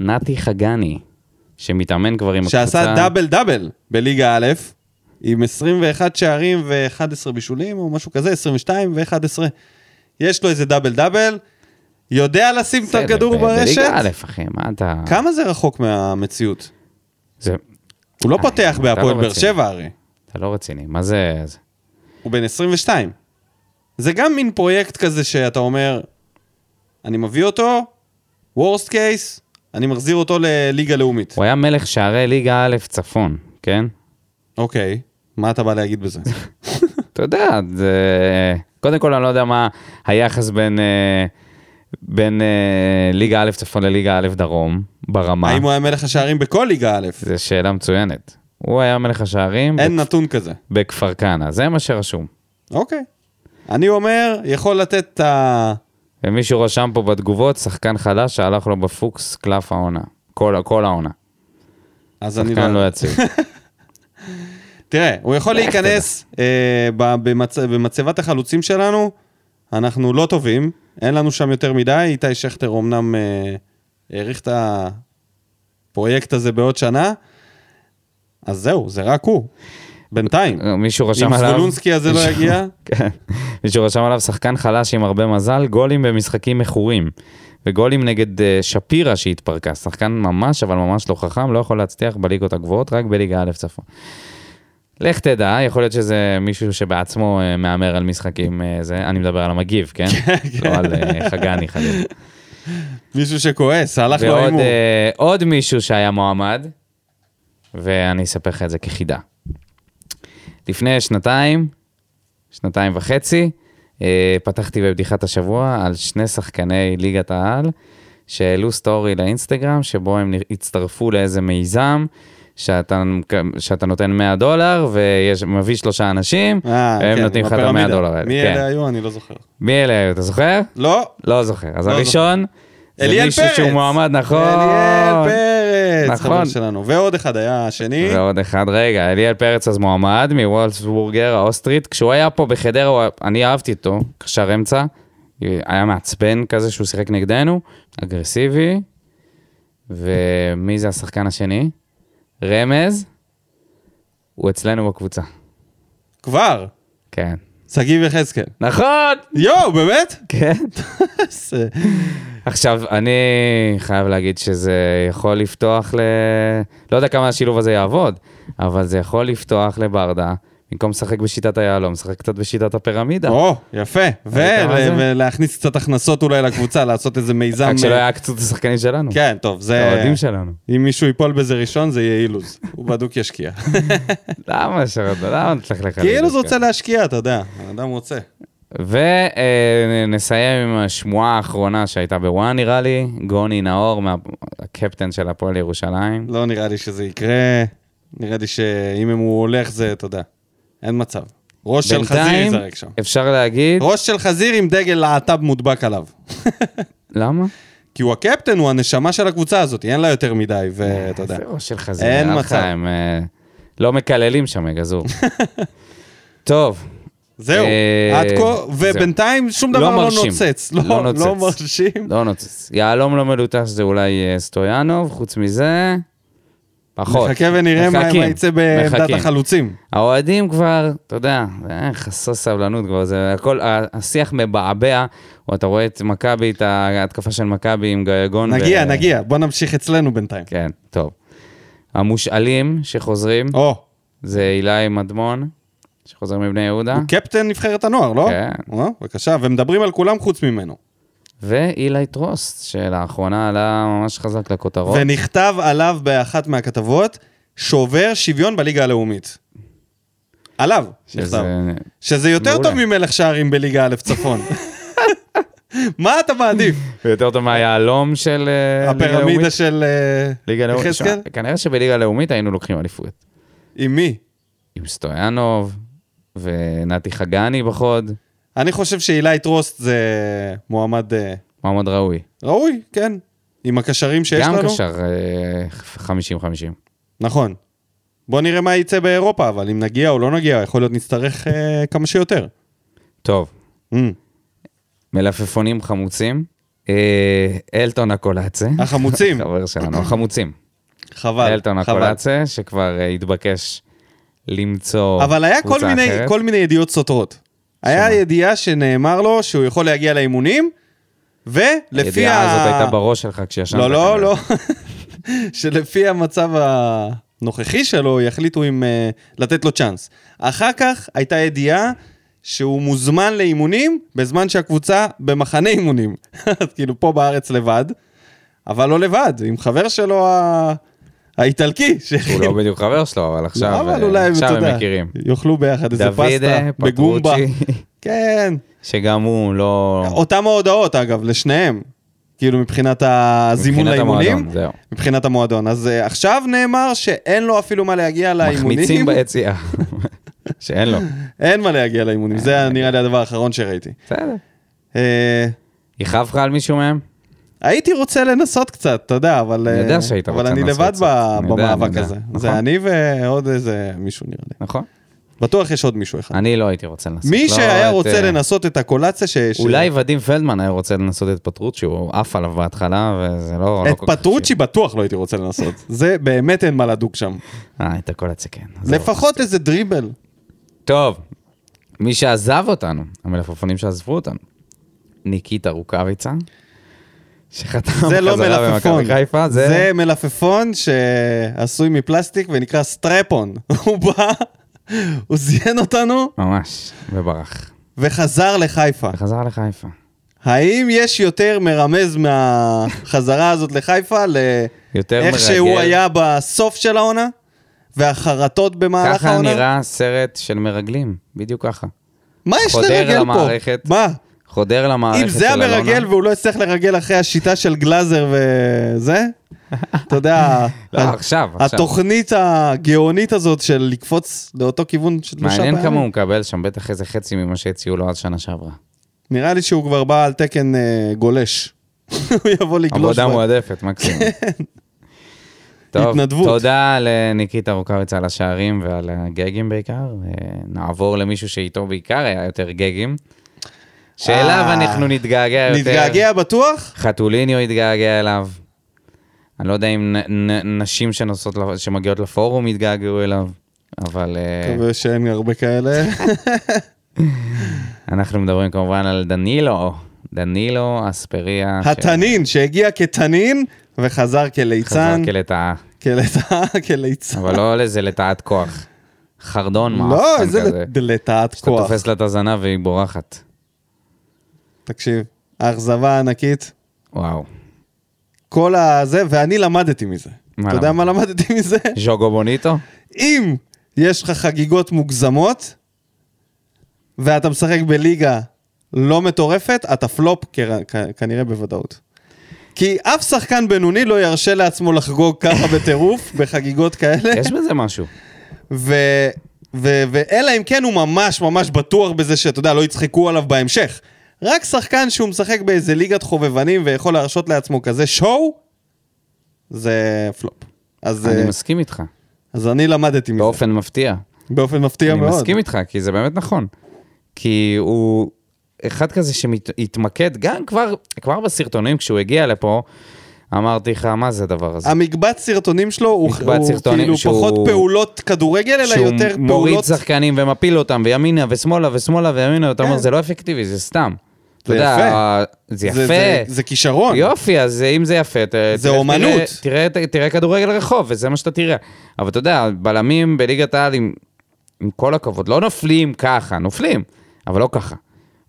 [SPEAKER 2] נתי חגני, שמתאמן כבר עם הקבוצה.
[SPEAKER 1] שעשה דאבל דאבל בליגה א', עם 21 שערים ו-11 בישולים, או משהו כזה, 22 ו-11. יש לו איזה דאבל דאבל, יודע לשים את
[SPEAKER 2] בסדר,
[SPEAKER 1] הכדור
[SPEAKER 2] ב-
[SPEAKER 1] ברשת.
[SPEAKER 2] בליגה א', אחי, מה אתה...
[SPEAKER 1] כמה זה רחוק מהמציאות?
[SPEAKER 2] זה...
[SPEAKER 1] הוא לא
[SPEAKER 2] אה,
[SPEAKER 1] פותח
[SPEAKER 2] אתה
[SPEAKER 1] בהפועל
[SPEAKER 2] לא
[SPEAKER 1] באר
[SPEAKER 2] רציני.
[SPEAKER 1] שבע הרי.
[SPEAKER 2] אתה לא רציני, מה זה... זה-
[SPEAKER 1] הוא בן 22. זה גם מין פרויקט כזה שאתה אומר, אני מביא אותו, וורסט קייס, אני מחזיר אותו לליגה לאומית.
[SPEAKER 2] הוא היה מלך שערי ליגה א' צפון,
[SPEAKER 1] *laughs*
[SPEAKER 2] כן?
[SPEAKER 1] אוקיי, מה אתה בא להגיד בזה?
[SPEAKER 2] אתה יודע, זה... קודם כל, אני לא יודע מה היחס בין, אה, בין אה, ליגה א' צפון לליגה א' דרום, ברמה.
[SPEAKER 1] האם הוא היה מלך השערים בכל ליגה א'?
[SPEAKER 2] זו שאלה מצוינת. הוא היה מלך השערים
[SPEAKER 1] אין
[SPEAKER 2] בכ-
[SPEAKER 1] נתון כזה.
[SPEAKER 2] בכפר כנא, זה מה שרשום.
[SPEAKER 1] אוקיי. אני אומר, יכול לתת את ה...
[SPEAKER 2] ומישהו רשם פה בתגובות, שחקן חלש שהלך לו בפוקס קלף העונה. כל, כל העונה.
[SPEAKER 1] אז אני
[SPEAKER 2] שחקן לא
[SPEAKER 1] *laughs*
[SPEAKER 2] יציב.
[SPEAKER 1] תראה, הוא יכול
[SPEAKER 2] לך
[SPEAKER 1] להיכנס אה, ב- במצ... במצבת החלוצים שלנו, אנחנו לא טובים, אין לנו שם יותר מדי, איתי שכטר אמנם אה, האריך את הפרויקט הזה בעוד שנה, אז זהו, זה רק הוא, בינתיים.
[SPEAKER 2] מישהו רשם
[SPEAKER 1] אם
[SPEAKER 2] אה, לא עליו...
[SPEAKER 1] זבולונסקי הזה לא
[SPEAKER 2] מישהו- *laughs*
[SPEAKER 1] יגיע,
[SPEAKER 2] כן. מישהו רשם עליו שחקן חלש עם הרבה מזל, גולים במשחקים מכורים. וגולים נגד אה, שפירא שהתפרקה, שחקן ממש אבל ממש לא חכם, לא יכול להצליח בליגות הגבוהות, רק בליגה א' צפון. לך תדע, יכול להיות שזה מישהו שבעצמו אה, מהמר על משחקים, אה, זה, אני מדבר על המגיב, כן? לא על אה, חגני חלילה.
[SPEAKER 1] מישהו שכועס, הלך לו
[SPEAKER 2] ועוד
[SPEAKER 1] ההימור.
[SPEAKER 2] אה, עוד מישהו שהיה מועמד, ואני אספר לך את זה כחידה. לפני שנתיים, שנתיים וחצי, אה, אה, פתחתי בבדיחת השבוע על שני שחקני ליגת העל, שהעלו סטורי לאינסטגרם, שבו הם הצטרפו לאיזה מיזם. שאתה, שאתה נותן 100 דולר ומביא שלושה אנשים,
[SPEAKER 1] אה,
[SPEAKER 2] והם
[SPEAKER 1] כן,
[SPEAKER 2] נותנים לך את ה-100
[SPEAKER 1] בפירמידה.
[SPEAKER 2] דולר האלה.
[SPEAKER 1] מי
[SPEAKER 2] כן.
[SPEAKER 1] אלה היו? אני לא זוכר.
[SPEAKER 2] מי אלה היו? אתה זוכר?
[SPEAKER 1] לא,
[SPEAKER 2] לא זוכר. אז
[SPEAKER 1] לא
[SPEAKER 2] הראשון, זה
[SPEAKER 1] אליאל
[SPEAKER 2] מישהו
[SPEAKER 1] פרץ.
[SPEAKER 2] שהוא מועמד, נכון.
[SPEAKER 1] אליאל פרץ,
[SPEAKER 2] נכון.
[SPEAKER 1] חבר שלנו. ועוד אחד היה השני.
[SPEAKER 2] ועוד אחד, רגע, אליאל פרץ אז מועמד מוולסבורגר האוסטרית, כשהוא היה פה בחדרה, הוא- אני אהבתי אותו, קשר אמצע, היה מעצבן כזה שהוא שיחק נגדנו, אגרסיבי, ומי זה השחקן השני? רמז, הוא אצלנו בקבוצה,
[SPEAKER 1] כבר.
[SPEAKER 2] כן.
[SPEAKER 1] שגיב יחזקאל.
[SPEAKER 2] נכון!
[SPEAKER 1] יואו, באמת?
[SPEAKER 2] כן.
[SPEAKER 1] זה-
[SPEAKER 2] עכשיו, אני חייב להגיד שזה יכול לפתוח ל... לא יודע כמה השילוב הזה יעבוד, אבל זה יכול לפתוח לברדה, במקום לשחק בשיטת היהלום, לשחק קצת בשיטת הפירמידה.
[SPEAKER 1] או, יפה. ו-
[SPEAKER 2] ראית מה
[SPEAKER 1] ו-
[SPEAKER 2] זה?
[SPEAKER 1] ולהכניס קצת הכנסות אולי לקבוצה, לעשות איזה מיזם. אה,
[SPEAKER 2] רק שלא לא, יעקצו את השחקנים שלנו,
[SPEAKER 1] כן, טוב, זה...
[SPEAKER 2] האוהדים שלנו.
[SPEAKER 1] אם מישהו ייפול בזה ראשון, זה יהיה אילוז. הוא בדוק
[SPEAKER 2] *laughs*
[SPEAKER 1] ישקיע.
[SPEAKER 2] למה שרד? למה נצטרך לך?
[SPEAKER 1] כי אילוז כאילו רוצה להשקיע, אתה יודע. האדם רוצה.
[SPEAKER 2] ונסיים אה, עם השמועה האחרונה שהייתה בוואן, נראה לי, גוני נאור, מה- הקפטן של הפועל ירושלים.
[SPEAKER 1] לא נראה לי שזה יקרה. נראה לי שאם הוא הולך זה, אתה יודע. אין מצב. ראש של חזיר
[SPEAKER 2] בינתיים
[SPEAKER 1] ייזרק שם.
[SPEAKER 2] אפשר להגיד,
[SPEAKER 1] ראש של חזיר עם דגל להט"ב מודבק עליו.
[SPEAKER 2] למה?
[SPEAKER 1] כי הוא הקפטן, הוא הנשמה של הקבוצה הזאת, אין לה יותר מדי,
[SPEAKER 2] אה,
[SPEAKER 1] ואתה יודע.
[SPEAKER 2] איזה ראש של חזיר,
[SPEAKER 1] אין
[SPEAKER 2] נראה לך,
[SPEAKER 1] מצב.
[SPEAKER 2] הם אה, לא מקללים שם, יא
[SPEAKER 1] *laughs*
[SPEAKER 2] גזור. טוב,
[SPEAKER 1] זהו,
[SPEAKER 2] אה,
[SPEAKER 1] עד כה, ובינתיים שום דבר לא
[SPEAKER 2] מרשים.
[SPEAKER 1] נוצץ.
[SPEAKER 2] לא
[SPEAKER 1] לא
[SPEAKER 2] נוצץ.
[SPEAKER 1] לא מרשים.
[SPEAKER 2] לא נוצץ. יהלום לא מלוטש זה אולי אה, סטויאנוב, חוץ מזה, פחות.
[SPEAKER 1] נחכה ונראה מה
[SPEAKER 2] נכון. מחכים,
[SPEAKER 1] מה יצא בעמדת
[SPEAKER 2] מחכים.
[SPEAKER 1] החלוצים.
[SPEAKER 2] האוהדים כבר, אתה יודע, אה, חסר סבלנות כבר, זה הכל, ה- השיח מבעבע, או אתה רואה את מכבי, את ההתקפה של מכבי עם גייגון. ו-
[SPEAKER 1] נגיע, נגיע, בוא נמשיך אצלנו בינתיים.
[SPEAKER 2] כן, טוב. המושאלים שחוזרים,
[SPEAKER 1] או,
[SPEAKER 2] זה אילי מדמון, שחוזר מבני יהודה,
[SPEAKER 1] הוא קפטן נבחרת הנוער, לא?
[SPEAKER 2] אה? כן.
[SPEAKER 1] או, בבקשה, ומדברים על כולם חוץ ממנו.
[SPEAKER 2] ואילי טרוסט, שלאחרונה עלה ממש חזק לכותרות.
[SPEAKER 1] ונכתב עליו באחת מהכתבות, שובר שוויון בליגה הלאומית. עליו,
[SPEAKER 2] שזה-
[SPEAKER 1] נכתב. שזה יותר
[SPEAKER 2] מעולה.
[SPEAKER 1] טוב ממלך שערים בליגה א'
[SPEAKER 2] *laughs*
[SPEAKER 1] צפון. מה אתה מעדיף?
[SPEAKER 2] ויותר טוב מהיהלום של אה, ליגה
[SPEAKER 1] הפירמידה
[SPEAKER 2] לאומית.
[SPEAKER 1] של אה,
[SPEAKER 2] ליגה לאומית.
[SPEAKER 1] יחזקאל?
[SPEAKER 2] שמע, כנראה שבליגה הלאומית היינו לוקחים אליפות.
[SPEAKER 1] עם מי?
[SPEAKER 2] עם סטויאנוב, ונתי חגני בחוד,
[SPEAKER 1] אני חושב שאילי טרוסט זה מועמד אה,
[SPEAKER 2] מועמד ראוי.
[SPEAKER 1] ראוי, כן. עם הקשרים שיש
[SPEAKER 2] גם
[SPEAKER 1] לנו.
[SPEAKER 2] קשר אה, 50-50.
[SPEAKER 1] נכון. בוא נראה מה יצא באירופה, אבל אם נגיע או לא נגיע, יכול להיות נצטרך אה, כמה שיותר.
[SPEAKER 2] טוב,
[SPEAKER 1] Mm.
[SPEAKER 2] מלפפונים חמוצים. אה, אלטון הקולאצה.
[SPEAKER 1] החמוצים.
[SPEAKER 2] *laughs* חבר שלנו, החמוצים.
[SPEAKER 1] חבל,
[SPEAKER 2] אלטון
[SPEAKER 1] חבל.
[SPEAKER 2] הקולאצה, שכבר אה, התבקש למצוא קבוצה אחרת.
[SPEAKER 1] אבל היה כל מיני, כל מיני ידיעות סותרות. היה ידיעה שנאמר לו שהוא יכול להגיע לאימונים, ולפי
[SPEAKER 2] הידיעה הזאת הייתה בראש שלך כשישנת.
[SPEAKER 1] לא, לא,
[SPEAKER 2] כנראה.
[SPEAKER 1] לא. *laughs* שלפי המצב הנוכחי שלו, יחליטו אם אה, לתת לו צ'אנס. אחר כך הייתה ידיעה שהוא מוזמן לאימונים בזמן שהקבוצה במחנה אימונים. *laughs* אז כאילו, פה בארץ לבד, אבל לא לבד, עם חבר שלו ה... האיטלקי. לא,
[SPEAKER 2] הוא
[SPEAKER 1] *laughs*
[SPEAKER 2] לא בדיוק חבר שלו, אבל עכשיו
[SPEAKER 1] אבל
[SPEAKER 2] אה,
[SPEAKER 1] אולי,
[SPEAKER 2] עכשיו
[SPEAKER 1] אתה
[SPEAKER 2] הם
[SPEAKER 1] יודע,
[SPEAKER 2] מכירים.
[SPEAKER 1] יאכלו ביחד איזה פסטה
[SPEAKER 2] דוידה,
[SPEAKER 1] בגומבה.
[SPEAKER 2] פטרוצ'י,
[SPEAKER 1] כן.
[SPEAKER 2] *laughs* שגם הוא לא...
[SPEAKER 1] אותם ההודעות, אגב, לשניהם. כאילו, מבחינת הזימון
[SPEAKER 2] מבחינת
[SPEAKER 1] לאימונים.
[SPEAKER 2] המועדון, זהו.
[SPEAKER 1] מבחינת המועדון. אז אה, עכשיו נאמר שאין לו אפילו מה להגיע לאימונים.
[SPEAKER 2] מחמיצים ביציאה. *laughs* שאין לו.
[SPEAKER 1] אין מה להגיע לאימונים,
[SPEAKER 2] אה,
[SPEAKER 1] זה היה נראה לי הדבר האחרון שראיתי.
[SPEAKER 2] בסדר.
[SPEAKER 1] אה,
[SPEAKER 2] יכאב לך על מישהו מהם?
[SPEAKER 1] הייתי רוצה לנסות קצת, אתה יודע, אבל...
[SPEAKER 2] אני יודע
[SPEAKER 1] אה,
[SPEAKER 2] שהיית רוצה
[SPEAKER 1] אבל אני
[SPEAKER 2] לנסות
[SPEAKER 1] לבד
[SPEAKER 2] קצת.
[SPEAKER 1] ב-
[SPEAKER 2] אני יודע,
[SPEAKER 1] במאבק
[SPEAKER 2] אני יודע.
[SPEAKER 1] הזה.
[SPEAKER 2] נכון.
[SPEAKER 1] זה אני ועוד איזה מישהו נראה לי.
[SPEAKER 2] נכון.
[SPEAKER 1] בטוח יש עוד מישהו אחד.
[SPEAKER 2] אני לא הייתי רוצה לנסות.
[SPEAKER 1] מי
[SPEAKER 2] לא
[SPEAKER 1] שהיה
[SPEAKER 2] את,
[SPEAKER 1] רוצה
[SPEAKER 2] אה,
[SPEAKER 1] לנסות את הקולציה ש... ש-
[SPEAKER 2] אולי ודים פלדמן היה רוצה לנסות את פטרוצ'י, הוא עף עליו בהתחלה, וזה לא... לא
[SPEAKER 1] את
[SPEAKER 2] כל כך
[SPEAKER 1] פטרוצ'י בטוח לא הייתי רוצה לנסות. זה באמת אין מה לדוג שם.
[SPEAKER 2] שיהיה. אה, את הקולציה, כן. עזוב.
[SPEAKER 1] לפחות איזה דריבל.
[SPEAKER 2] טוב, מי שעזב אותנו, המלפפונים שעזבו אותנו, ניקיטה רוקאביצה, שחתם
[SPEAKER 1] זה לא
[SPEAKER 2] חזרה
[SPEAKER 1] מלפפון,
[SPEAKER 2] במכבי חיפה, זה...
[SPEAKER 1] זה מלפפון שעשוי מפלסטיק ונקרא סטרפון. *laughs* הוא בא, הוא זיין אותנו
[SPEAKER 2] ממש, וברח.
[SPEAKER 1] וחזר לחיפה.
[SPEAKER 2] וחזר לחיפה.
[SPEAKER 1] אה, האם יש יותר מרמז מהחזרה הזאת לחיפה
[SPEAKER 2] יותר
[SPEAKER 1] לאיך
[SPEAKER 2] מרגש.
[SPEAKER 1] שהוא היה בסוף של העונה? והחרטות במהלך
[SPEAKER 2] ככה
[SPEAKER 1] העונה?
[SPEAKER 2] נראה סרט של מרגלים, בדיוק ככה.
[SPEAKER 1] מה יש
[SPEAKER 2] חודר
[SPEAKER 1] לרגל פה?
[SPEAKER 2] למערכת.
[SPEAKER 1] מה?
[SPEAKER 2] חודר למערכת
[SPEAKER 1] אם
[SPEAKER 2] של
[SPEAKER 1] זה
[SPEAKER 2] אלונה.
[SPEAKER 1] המרגל והוא לא יצטרך לרגל אחרי השיטה של גלאזר וזה, אתה יודע,
[SPEAKER 2] *laughs* לא,
[SPEAKER 1] ה-
[SPEAKER 2] עכשיו, עכשיו.
[SPEAKER 1] התוכנית הגאונית הזאת של לקפוץ לאותו כיוון של שלושה פעמים.
[SPEAKER 2] מעניין כמה הוא מקבל שם, בטח איזה חצי ממה שהציעו לו אז שנה שעברה.
[SPEAKER 1] נראה לי שהוא כבר בא על תקן אה, גולש. *laughs* הוא יבוא לגלוש.
[SPEAKER 2] עבודה
[SPEAKER 1] בה. *laughs*
[SPEAKER 2] מועדפת, מקסימום. טוב,
[SPEAKER 1] כן. התנדבות.
[SPEAKER 2] תודה לניקיטה רוקאביץ על השערים ועל הגגים בעיקר. אה, נעבור למישהו שאיתו בעיקר היה יותר גגים. שאליו
[SPEAKER 1] אה,
[SPEAKER 2] אנחנו נתגעגע יותר.
[SPEAKER 1] נתגעגע בטוח?
[SPEAKER 2] חתוליניו התגעגע אליו. אני לא יודע אם נ- נ- נשים שנוסעות, לפ- שמגיעות לפורום יתגעגעו אליו, אבל אה,
[SPEAKER 1] מקווה שאין הרבה
[SPEAKER 2] *laughs*
[SPEAKER 1] כאלה.
[SPEAKER 2] אוקיי. אנחנו מדברים כמובן על דנילו, דנילו אספריה. ש-
[SPEAKER 1] התנין שהגיע כתנין וחזר
[SPEAKER 2] חזר
[SPEAKER 1] כליצן.
[SPEAKER 2] כלטאה,
[SPEAKER 1] כלטאה, כליצן.
[SPEAKER 2] אבל לא לאיזה לטאת כוח. חרדון מאפן
[SPEAKER 1] לא,
[SPEAKER 2] כזה.
[SPEAKER 1] איזה לטעת
[SPEAKER 2] שאתה
[SPEAKER 1] כוח.
[SPEAKER 2] תופס לה את הזנב והיא בורחת.
[SPEAKER 1] תקשיב, האכזבה הענקית,
[SPEAKER 2] וואו.
[SPEAKER 1] כל הזה, ואני למדתי מזה.
[SPEAKER 2] מה
[SPEAKER 1] אתה יודע
[SPEAKER 2] למדת?
[SPEAKER 1] מה למדתי מזה?
[SPEAKER 2] ז'וגו בוניטו?
[SPEAKER 1] אם יש לך חגיגות מוגזמות, ואתה משחק בליגה לא מטורפת, אתה פלופ כר- כ- כנראה בוודאות. כי אף שחקן בינוני לא ירשה לעצמו לחגוג
[SPEAKER 2] *laughs*
[SPEAKER 1] ככה בטירוף, בחגיגות כאלה,
[SPEAKER 2] יש בזה משהו.
[SPEAKER 1] ו- ו- ואלא אם כן הוא ממש ממש בטוח בזה שאתה יודע, לא יצחקו עליו בהמשך. רק שחקן שהוא משחק באיזה ליגת חובבנים ויכול להרשות לעצמו כזה שואו, זה פלופ. אז,
[SPEAKER 2] אני
[SPEAKER 1] אה,
[SPEAKER 2] מסכים איתך.
[SPEAKER 1] אז אני למדתי מזה.
[SPEAKER 2] באופן מפתיע.
[SPEAKER 1] באופן מפתיע
[SPEAKER 2] אני
[SPEAKER 1] כן מאוד.
[SPEAKER 2] מסכים איתך, כי זה באמת נכון. כי הוא אחד כזה שהתמקד, גם כבר, כבר בסרטונים, כשהוא הגיע לפה, אמרתי לך, מה זה הדבר הזה?
[SPEAKER 1] המקבץ סרטונים שלו הוא,
[SPEAKER 2] מקבץ
[SPEAKER 1] הוא
[SPEAKER 2] סרטונים
[SPEAKER 1] כאילו
[SPEAKER 2] שהוא-
[SPEAKER 1] פחות פעולות כדורגל, אלא
[SPEAKER 2] שהוא
[SPEAKER 1] יותר
[SPEAKER 2] מוריד
[SPEAKER 1] פעולות...
[SPEAKER 2] שחקנים ומפיל אותם, וימינה ושמאלה ושמאלה וימינה, אתה אומר,
[SPEAKER 1] כן.
[SPEAKER 2] זה לא אפקטיבי, זה סתם. אתה
[SPEAKER 1] זה
[SPEAKER 2] יודע,
[SPEAKER 1] יפה.
[SPEAKER 2] ה- זה יפה.
[SPEAKER 1] זה, זה, זה כישרון.
[SPEAKER 2] יופי, אז אם זה יפה, ת,
[SPEAKER 1] נכון. זה
[SPEAKER 2] תלך,
[SPEAKER 1] אומנות.
[SPEAKER 2] תראה, תראה, תראה כדורגל רחוב, וזה מה שאתה תראה. אבל אתה יודע, בלמים בליגת העל, עם, עם כל הכבוד, לא נופלים ככה, נופלים, אבל לא ככה.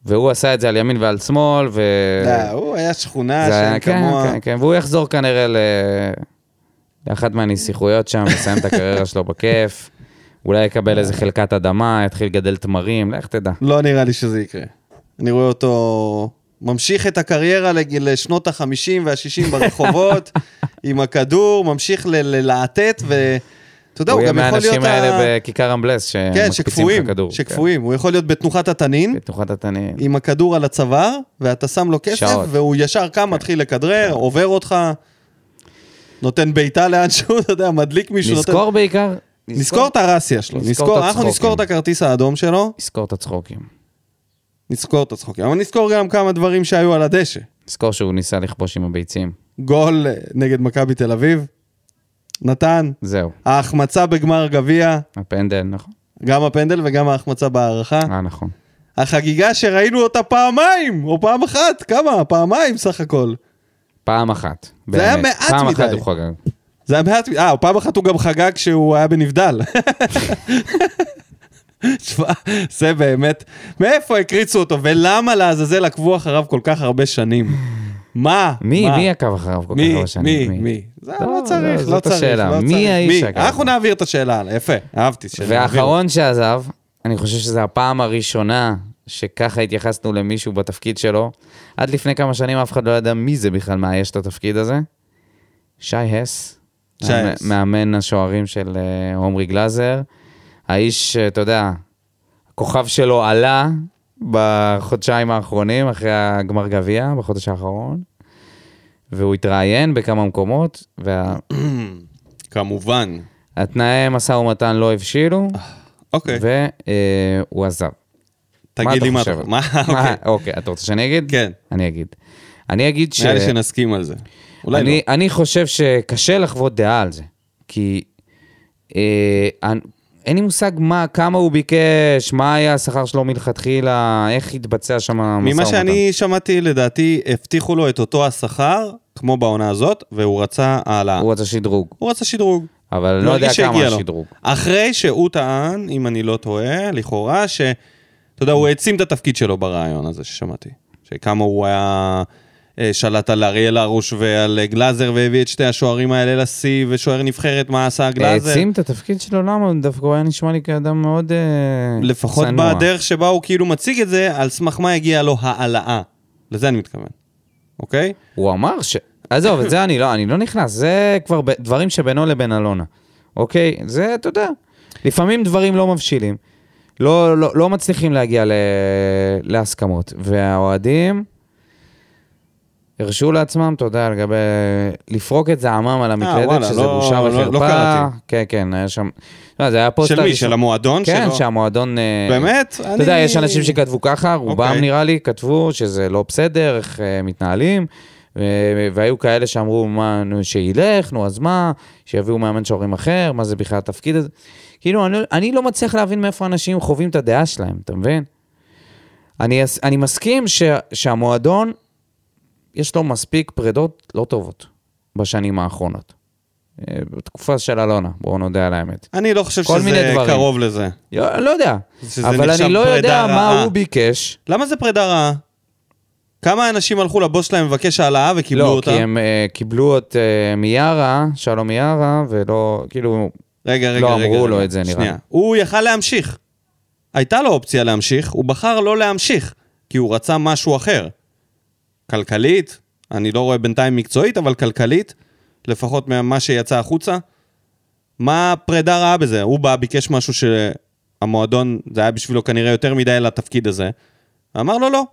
[SPEAKER 2] והוא עשה את זה על ימין ועל שמאל, ו...
[SPEAKER 1] לא, הוא היה שכונה
[SPEAKER 2] זה
[SPEAKER 1] שאין
[SPEAKER 2] היה- כן,
[SPEAKER 1] כמוה.
[SPEAKER 2] כן, כן, והוא יחזור כנראה ל... לאחת מהנסיכויות שם, לסיים את הקריירה שלו בכיף. אולי יקבל איזה חלקת אדמה, יתחיל לגדל תמרים, לך תדע.
[SPEAKER 1] לא נראה לי שזה יקרה. אני רואה אותו ממשיך את הקריירה לג- לשנות ה-50 וה-60
[SPEAKER 2] *laughs*
[SPEAKER 1] ברחובות, עם הכדור, ממשיך ל- ללהטט, ואתה יודע, לא, הוא
[SPEAKER 2] יהיה
[SPEAKER 1] גם יכול להיות...
[SPEAKER 2] מהאנשים האלה בכיכר אמבלס,
[SPEAKER 1] כן,
[SPEAKER 2] שמקפיצים כן,
[SPEAKER 1] שקפואים,
[SPEAKER 2] לך כדור. כן.
[SPEAKER 1] שקפואים. הוא יכול להיות בתנוחת התנין,
[SPEAKER 2] בתנוחת התנין.
[SPEAKER 1] עם הכדור על הצוואר, ואתה שם לו כסף,
[SPEAKER 2] שעות. כן.
[SPEAKER 1] והוא ישר קם, מתחיל לכדרר, עובר אותך, נותן בעיטה לאנשהו, *laughs* אתה יודע, מדליק מישהו, נותן...
[SPEAKER 2] נזכור בעיקר.
[SPEAKER 1] נזכור את הרסיה שלו,
[SPEAKER 2] נזכור
[SPEAKER 1] נזכור,
[SPEAKER 2] את
[SPEAKER 1] אנחנו
[SPEAKER 2] הצחוקים.
[SPEAKER 1] נזכור את הכרטיס האדום שלו,
[SPEAKER 2] נזכור את הצחוקים.
[SPEAKER 1] נזכור את הצחוקים, אבל נזכור גם כמה דברים שהיו על הדשא.
[SPEAKER 2] נזכור שהוא ניסה לכבוש עם הביצים.
[SPEAKER 1] גול אה, נגד מכבי תל אביב, נתן,
[SPEAKER 2] זהו.
[SPEAKER 1] ההחמצה בגמר גביע,
[SPEAKER 2] הפנדל, נכון.
[SPEAKER 1] גם הפנדל וגם ההחמצה בהערכה.
[SPEAKER 2] אה, נכון.
[SPEAKER 1] החגיגה שראינו אותה פעמיים, או פעם אחת, כמה? פעמיים סך הכל.
[SPEAKER 2] פעם אחת.
[SPEAKER 1] זה היה
[SPEAKER 2] באמת.
[SPEAKER 1] מעט
[SPEAKER 2] פעם
[SPEAKER 1] מדי.
[SPEAKER 2] אחת הוא חגג.
[SPEAKER 1] זה היה מעט, אה, פעם אחת הוא גם חגג כשהוא היה בנבדל. תשמע, זה באמת, מאיפה הקריצו אותו, ולמה לעזאזל עקבו אחריו כל כך הרבה שנים? מה?
[SPEAKER 2] מי,
[SPEAKER 1] מה?
[SPEAKER 2] מי עקב אחריו כל כך
[SPEAKER 1] מי,
[SPEAKER 2] הרבה
[SPEAKER 1] מי,
[SPEAKER 2] שנים?
[SPEAKER 1] מי? זה לא
[SPEAKER 2] לא,
[SPEAKER 1] צריך,
[SPEAKER 2] לא,
[SPEAKER 1] לא
[SPEAKER 2] זאת
[SPEAKER 1] צריך,
[SPEAKER 2] השאלה.
[SPEAKER 1] לא
[SPEAKER 2] מי
[SPEAKER 1] צריך.
[SPEAKER 2] האיש עקב?
[SPEAKER 1] אנחנו נעביר את השאלה הלאה, יפה, אהבתי. שנעביר.
[SPEAKER 2] והאחרון שעזב, אני חושב שזו הפעם הראשונה שככה התייחסנו למישהו בתפקיד שלו. עד לפני כמה שנים אף אחד לא ידע מי זה בכלל מאייש את התפקיד הזה. שי הס,
[SPEAKER 1] שי
[SPEAKER 2] המ-
[SPEAKER 1] הס.
[SPEAKER 2] מאמן השוערים של אה, עומרי גלאזר. האיש, אה, אתה יודע, הכוכב שלו עלה בחודשיים האחרונים, אחרי הגמר גביע, בחודש האחרון. והוא התראיין בכמה מקומות, והתנאי
[SPEAKER 1] כמובן.
[SPEAKER 2] משא ומתן לא הבשילו.
[SPEAKER 1] אוקיי,
[SPEAKER 2] והוא עזב.
[SPEAKER 1] תגיד לי מה אתה
[SPEAKER 2] חושבת?
[SPEAKER 1] מה,
[SPEAKER 2] מה,
[SPEAKER 1] אוקיי.
[SPEAKER 2] אוקיי, אתה רוצה שאני אגיד?
[SPEAKER 1] כן.
[SPEAKER 2] אני אגיד. אני אגיד ש...
[SPEAKER 1] נראה לי שנסכים על זה. אולי לא.
[SPEAKER 2] אני, אני חושב שקשה לחוות דעה על זה, כי אה, אני- אין לי מושג מה, כמה הוא ביקש, מה היה השכר שלו מלכתחילה, איך התבצע שם המשא
[SPEAKER 1] ממה
[SPEAKER 2] ומתן.
[SPEAKER 1] שאני שמעתי, לדעתי, הבטיחו לו את אותו השכר, כמו בעונה הזאת, והוא רצה העלאה.
[SPEAKER 2] הוא רצה שדרוג,
[SPEAKER 1] הוא רצה שדרוג.
[SPEAKER 2] אבל לא יודע
[SPEAKER 1] מרגיש
[SPEAKER 2] כמה
[SPEAKER 1] שהגיע לו.
[SPEAKER 2] השדרוג.
[SPEAKER 1] אחרי שהוא טען, אם אני לא טועה, לכאורה, ש... אתה יודע, הוא העצים את התפקיד שלו ברעיון הזה ששמעתי. שכמה הוא היה אה, שלט על אריאל הרוש ועל אה, גלאזר והביא את שתי השוערים האלה לשיא, ושוער נבחרת, מה עשה גלאזר?
[SPEAKER 2] העצים אה, את התפקיד שלו, למה? הוא דווקא הוא היה נשמע לי כאדם מאוד אה,
[SPEAKER 1] לפחות
[SPEAKER 2] צנוע.
[SPEAKER 1] בדרך שבה הוא כאילו מציג את זה, על סמך מה הגיעה לו העלאה. לזה אני מתכוון, אוקיי?
[SPEAKER 2] הוא אמר ש... עזוב, את זה אני לא, אני לא נכנס, זה כבר ב... דברים שבינו לבין אלונה. אוקיי? זה, אתה יודע, לפעמים דברים לא מבשילים. לא, לא, לא מצליחים להגיע ל... להסכמות. והאוהדים הרשו לעצמם, אתה יודע, לגבי... לפרוק את זעמם על המקלדת,
[SPEAKER 1] וואלה,
[SPEAKER 2] שזה
[SPEAKER 1] לא-
[SPEAKER 2] בושה
[SPEAKER 1] לא- לא
[SPEAKER 2] וחרפה.
[SPEAKER 1] קראתי.
[SPEAKER 2] כן, כן, היה שם... לא, זה היה פוסט
[SPEAKER 1] של מי?
[SPEAKER 2] הראשון.
[SPEAKER 1] של המועדון?
[SPEAKER 2] כן,
[SPEAKER 1] שלו?
[SPEAKER 2] שהמועדון... אה,
[SPEAKER 1] באמת?
[SPEAKER 2] אתה יודע, יש אנשים שכתבו ככה, רובם
[SPEAKER 1] אוקיי.
[SPEAKER 2] נראה לי כתבו שזה לא בסדר, איך אה, מתנהלים, ו- והיו כאלה שאמרו, מה, נו, שילך, נו, אז מה, שיביאו מאמן שוערים אחר, מה זה בכלל התפקיד הזה? כאילו, אני, אני לא מצליח להבין מאיפה אנשים חווים את הדעה שלהם, אתה מבין? אני, אס- אני מסכים ש, שהמועדון, יש לו מספיק פרדות לא טובות בשנים האחרונות. אה, בתקופה של אלונה, בואו נודה על האמת.
[SPEAKER 1] אני לא חושב
[SPEAKER 2] כל מיני
[SPEAKER 1] שזה
[SPEAKER 2] דברים.
[SPEAKER 1] קרוב לזה.
[SPEAKER 2] לא, לא יודע,
[SPEAKER 1] שזה
[SPEAKER 2] אבל
[SPEAKER 1] נחשב
[SPEAKER 2] אני לא
[SPEAKER 1] פרידה
[SPEAKER 2] יודע מה
[SPEAKER 1] רעה.
[SPEAKER 2] הוא ביקש.
[SPEAKER 1] למה זה פרידה רעה? כמה אנשים הלכו לבוס שלהם לבקש העלאה וקיבלו אותה?
[SPEAKER 2] לא, כי הם אה, קיבלו את אה, מיארה, שלום מיארה, ולא, כאילו,
[SPEAKER 1] רגע, רגע,
[SPEAKER 2] לא
[SPEAKER 1] רגע.
[SPEAKER 2] אמרו
[SPEAKER 1] רגע.
[SPEAKER 2] לו את זה, נראה
[SPEAKER 1] שנייה.
[SPEAKER 2] לי.
[SPEAKER 1] הוא יכל להמשיך. הייתה לו אופציה להמשיך, הוא בחר לא להמשיך, כי הוא רצה משהו אחר. כלכלית, אני לא רואה בינתיים מקצועית, אבל כלכלית, לפחות ממה שיצא החוצה. מה פרידה רעה בזה? הוא בא, ביקש משהו שהמועדון, זה היה בשבילו כנראה יותר מדי לתפקיד הזה. אמר לו, לא,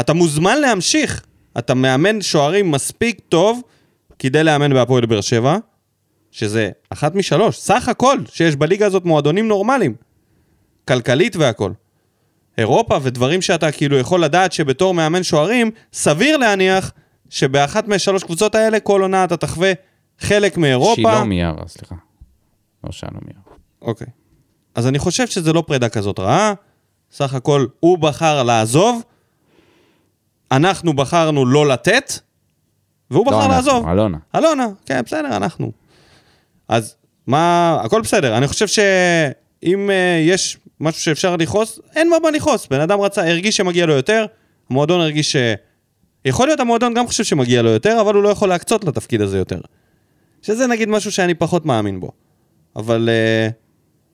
[SPEAKER 1] אתה מוזמן להמשיך. אתה מאמן שוערים מספיק טוב כדי לאמן בהפועל באר שבע, שזה אחת משלוש, סך הכל שיש בליגה הזאת מועדונים נורמליים, כלכלית והכל. אירופה ודברים שאתה כאילו יכול לדעת שבתור מאמן שוערים, סביר להניח שבאחת משלוש קבוצות האלה כל עונה אתה תחווה חלק מאירופה.
[SPEAKER 2] שילה מיארה, סליחה. לא שלום מיארה.
[SPEAKER 1] אוקיי. אז אני חושב שזה לא פרידה כזאת רעה. סך הכל, הוא בחר לעזוב, אנחנו בחרנו לא לתת, והוא
[SPEAKER 2] לא
[SPEAKER 1] בחר
[SPEAKER 2] אנחנו,
[SPEAKER 1] לעזוב.
[SPEAKER 2] אלונה.
[SPEAKER 1] אלונה, כן, בסדר, אנחנו. אז מה, הכל בסדר. אני חושב שאם אה, יש משהו שאפשר לכעוס, אין מה מה לכעוס. בן אדם רצה, הרגיש שמגיע לו יותר, המועדון הרגיש ש... יכול להיות המועדון גם חושב שמגיע לו יותר, אבל הוא לא יכול להקצות לתפקיד הזה יותר. שזה נגיד משהו שאני פחות מאמין בו. אבל אה,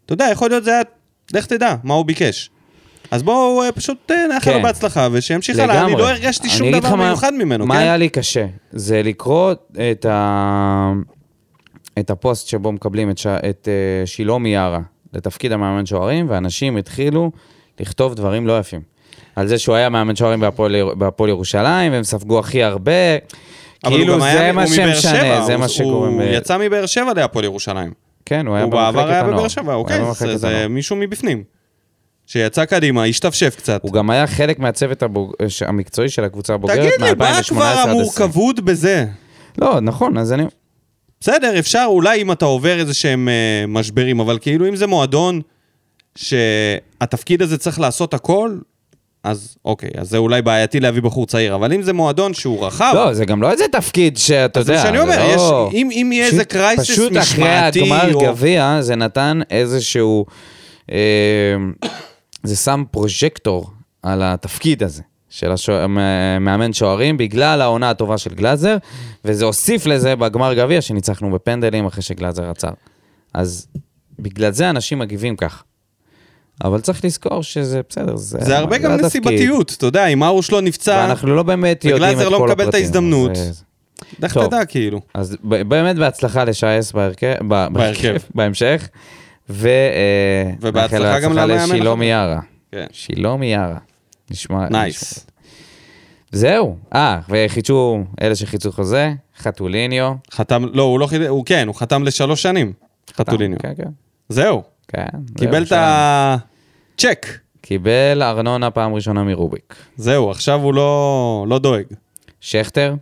[SPEAKER 1] אתה יודע, יכול להיות זה היה, לך תדע מה הוא ביקש. אז בואו אה, פשוט אה, נאחל לו
[SPEAKER 2] כן.
[SPEAKER 1] בהצלחה ושימשיך הלאה.
[SPEAKER 2] לגמרי.
[SPEAKER 1] אני לא הרגשתי
[SPEAKER 2] אני
[SPEAKER 1] שום
[SPEAKER 2] אגיד לך
[SPEAKER 1] דבר
[SPEAKER 2] מה-
[SPEAKER 1] מיוחד ממנו,
[SPEAKER 2] מה
[SPEAKER 1] כן?
[SPEAKER 2] היה לי קשה? זה לקרוא את ה... את הפוסט שבו מקבלים את, ש... את uh, שילה מיארה לתפקיד המאמן שוערים, ואנשים התחילו לכתוב דברים לא יפים. על זה שהוא היה מאמן שוערים בהפועל יר- בהפועל ירושלים, והם ספגו הכי הרבה.
[SPEAKER 1] אבל הוא
[SPEAKER 2] כאילו,
[SPEAKER 1] גם
[SPEAKER 2] זה
[SPEAKER 1] היה-
[SPEAKER 2] מה
[SPEAKER 1] הוא מבאר
[SPEAKER 2] שמשנה,
[SPEAKER 1] שבע,
[SPEAKER 2] זה
[SPEAKER 1] הוא-
[SPEAKER 2] מה שקוראים...
[SPEAKER 1] הוא
[SPEAKER 2] ב-
[SPEAKER 1] יצא מבאר שבע להפועל ירושלים.
[SPEAKER 2] כן, הוא היה
[SPEAKER 1] הוא
[SPEAKER 2] במחלקת הנוער.
[SPEAKER 1] בעבר היה בבאר שבע,
[SPEAKER 2] הוא היה
[SPEAKER 1] אוקיי,
[SPEAKER 2] במחלקת
[SPEAKER 1] זה-
[SPEAKER 2] הנוער.
[SPEAKER 1] זה מישהו מבפנים. שיצא קדימה, השתפשף קצת.
[SPEAKER 2] הוא גם היה חלק מהצוות הבוג... אה, ש- המקצועי של הקבוצה הבוגרת מ-2018 עד
[SPEAKER 1] תגיד
[SPEAKER 2] 2020.
[SPEAKER 1] לי, מה כבר המורכבות בזה?
[SPEAKER 2] לא, נכון, אז אני...
[SPEAKER 1] בסדר, אפשר אולי אם אתה עובר איזה שהם אה, משברים, אבל כאילו אם זה מועדון שהתפקיד הזה צריך לעשות הכל, אז אוקיי, אז זה אולי בעייתי להביא בחור צעיר, אבל אם זה מועדון שהוא רחב...
[SPEAKER 2] לא, זה גם לא איזה תפקיד שאתה יודע.
[SPEAKER 1] זה מה שאני אומר,
[SPEAKER 2] זה לא...
[SPEAKER 1] יש- אם- אם יהיה
[SPEAKER 2] פשוט-
[SPEAKER 1] איזה קרייסיס
[SPEAKER 2] פשוט אחרי
[SPEAKER 1] משמעתי,
[SPEAKER 2] הגמר
[SPEAKER 1] או-
[SPEAKER 2] גביע, זה נתן איזשהו... אה, זה שם פרוז'קטור על התפקיד הזה. של השוע- מ- מאמן שוערים, בגלל העונה הטובה של גלאזר, וזה הוסיף לזה בגמר גביע שניצחנו בפנדלים אחרי שגלאזר עצר. אז בגלל זה אנשים מגיבים כך. אבל צריך לזכור שזה בסדר, זה... לא
[SPEAKER 1] זה הרבה גם
[SPEAKER 2] התפקיד.
[SPEAKER 1] נסיבתיות, אתה יודע, אם ארוש לא נפצע,
[SPEAKER 2] ואנחנו לא באמת יודעים את כל הפרטים.
[SPEAKER 1] וגלאזר לא מקבל את ההזדמנות.
[SPEAKER 2] אז-
[SPEAKER 1] לך
[SPEAKER 2] טוב.
[SPEAKER 1] תדע כאילו.
[SPEAKER 2] אז ב- באמת בהצלחה לשייס בהרכב, ב- בהרכב, *laughs*
[SPEAKER 1] בהרכב.
[SPEAKER 2] בהמשך. ו... אה,
[SPEAKER 1] ובהצלחה
[SPEAKER 2] נאחל
[SPEAKER 1] גם
[SPEAKER 2] הצלחה
[SPEAKER 1] למאמן
[SPEAKER 2] לשילה
[SPEAKER 1] החדש.
[SPEAKER 2] מיארה.
[SPEAKER 1] כן.
[SPEAKER 2] שילה מיארה. נשמע... נשמע-
[SPEAKER 1] נייס.
[SPEAKER 2] זהו. אה, וחידשו, אלה שחידשו חוזה, חתוליניו.
[SPEAKER 1] חתם, לא, הוא לא חידש, הוא כן, הוא חתם לשלוש שנים, חתוליניו.
[SPEAKER 2] כן, כן.
[SPEAKER 1] זהו,
[SPEAKER 2] כן.
[SPEAKER 1] קיבל את
[SPEAKER 2] זהו,
[SPEAKER 1] הצ'ק.
[SPEAKER 2] קיבל ארנונה פעם ראשונה מרוביק.
[SPEAKER 1] זהו, עכשיו הוא לא, לא דואג.
[SPEAKER 2] שכטר?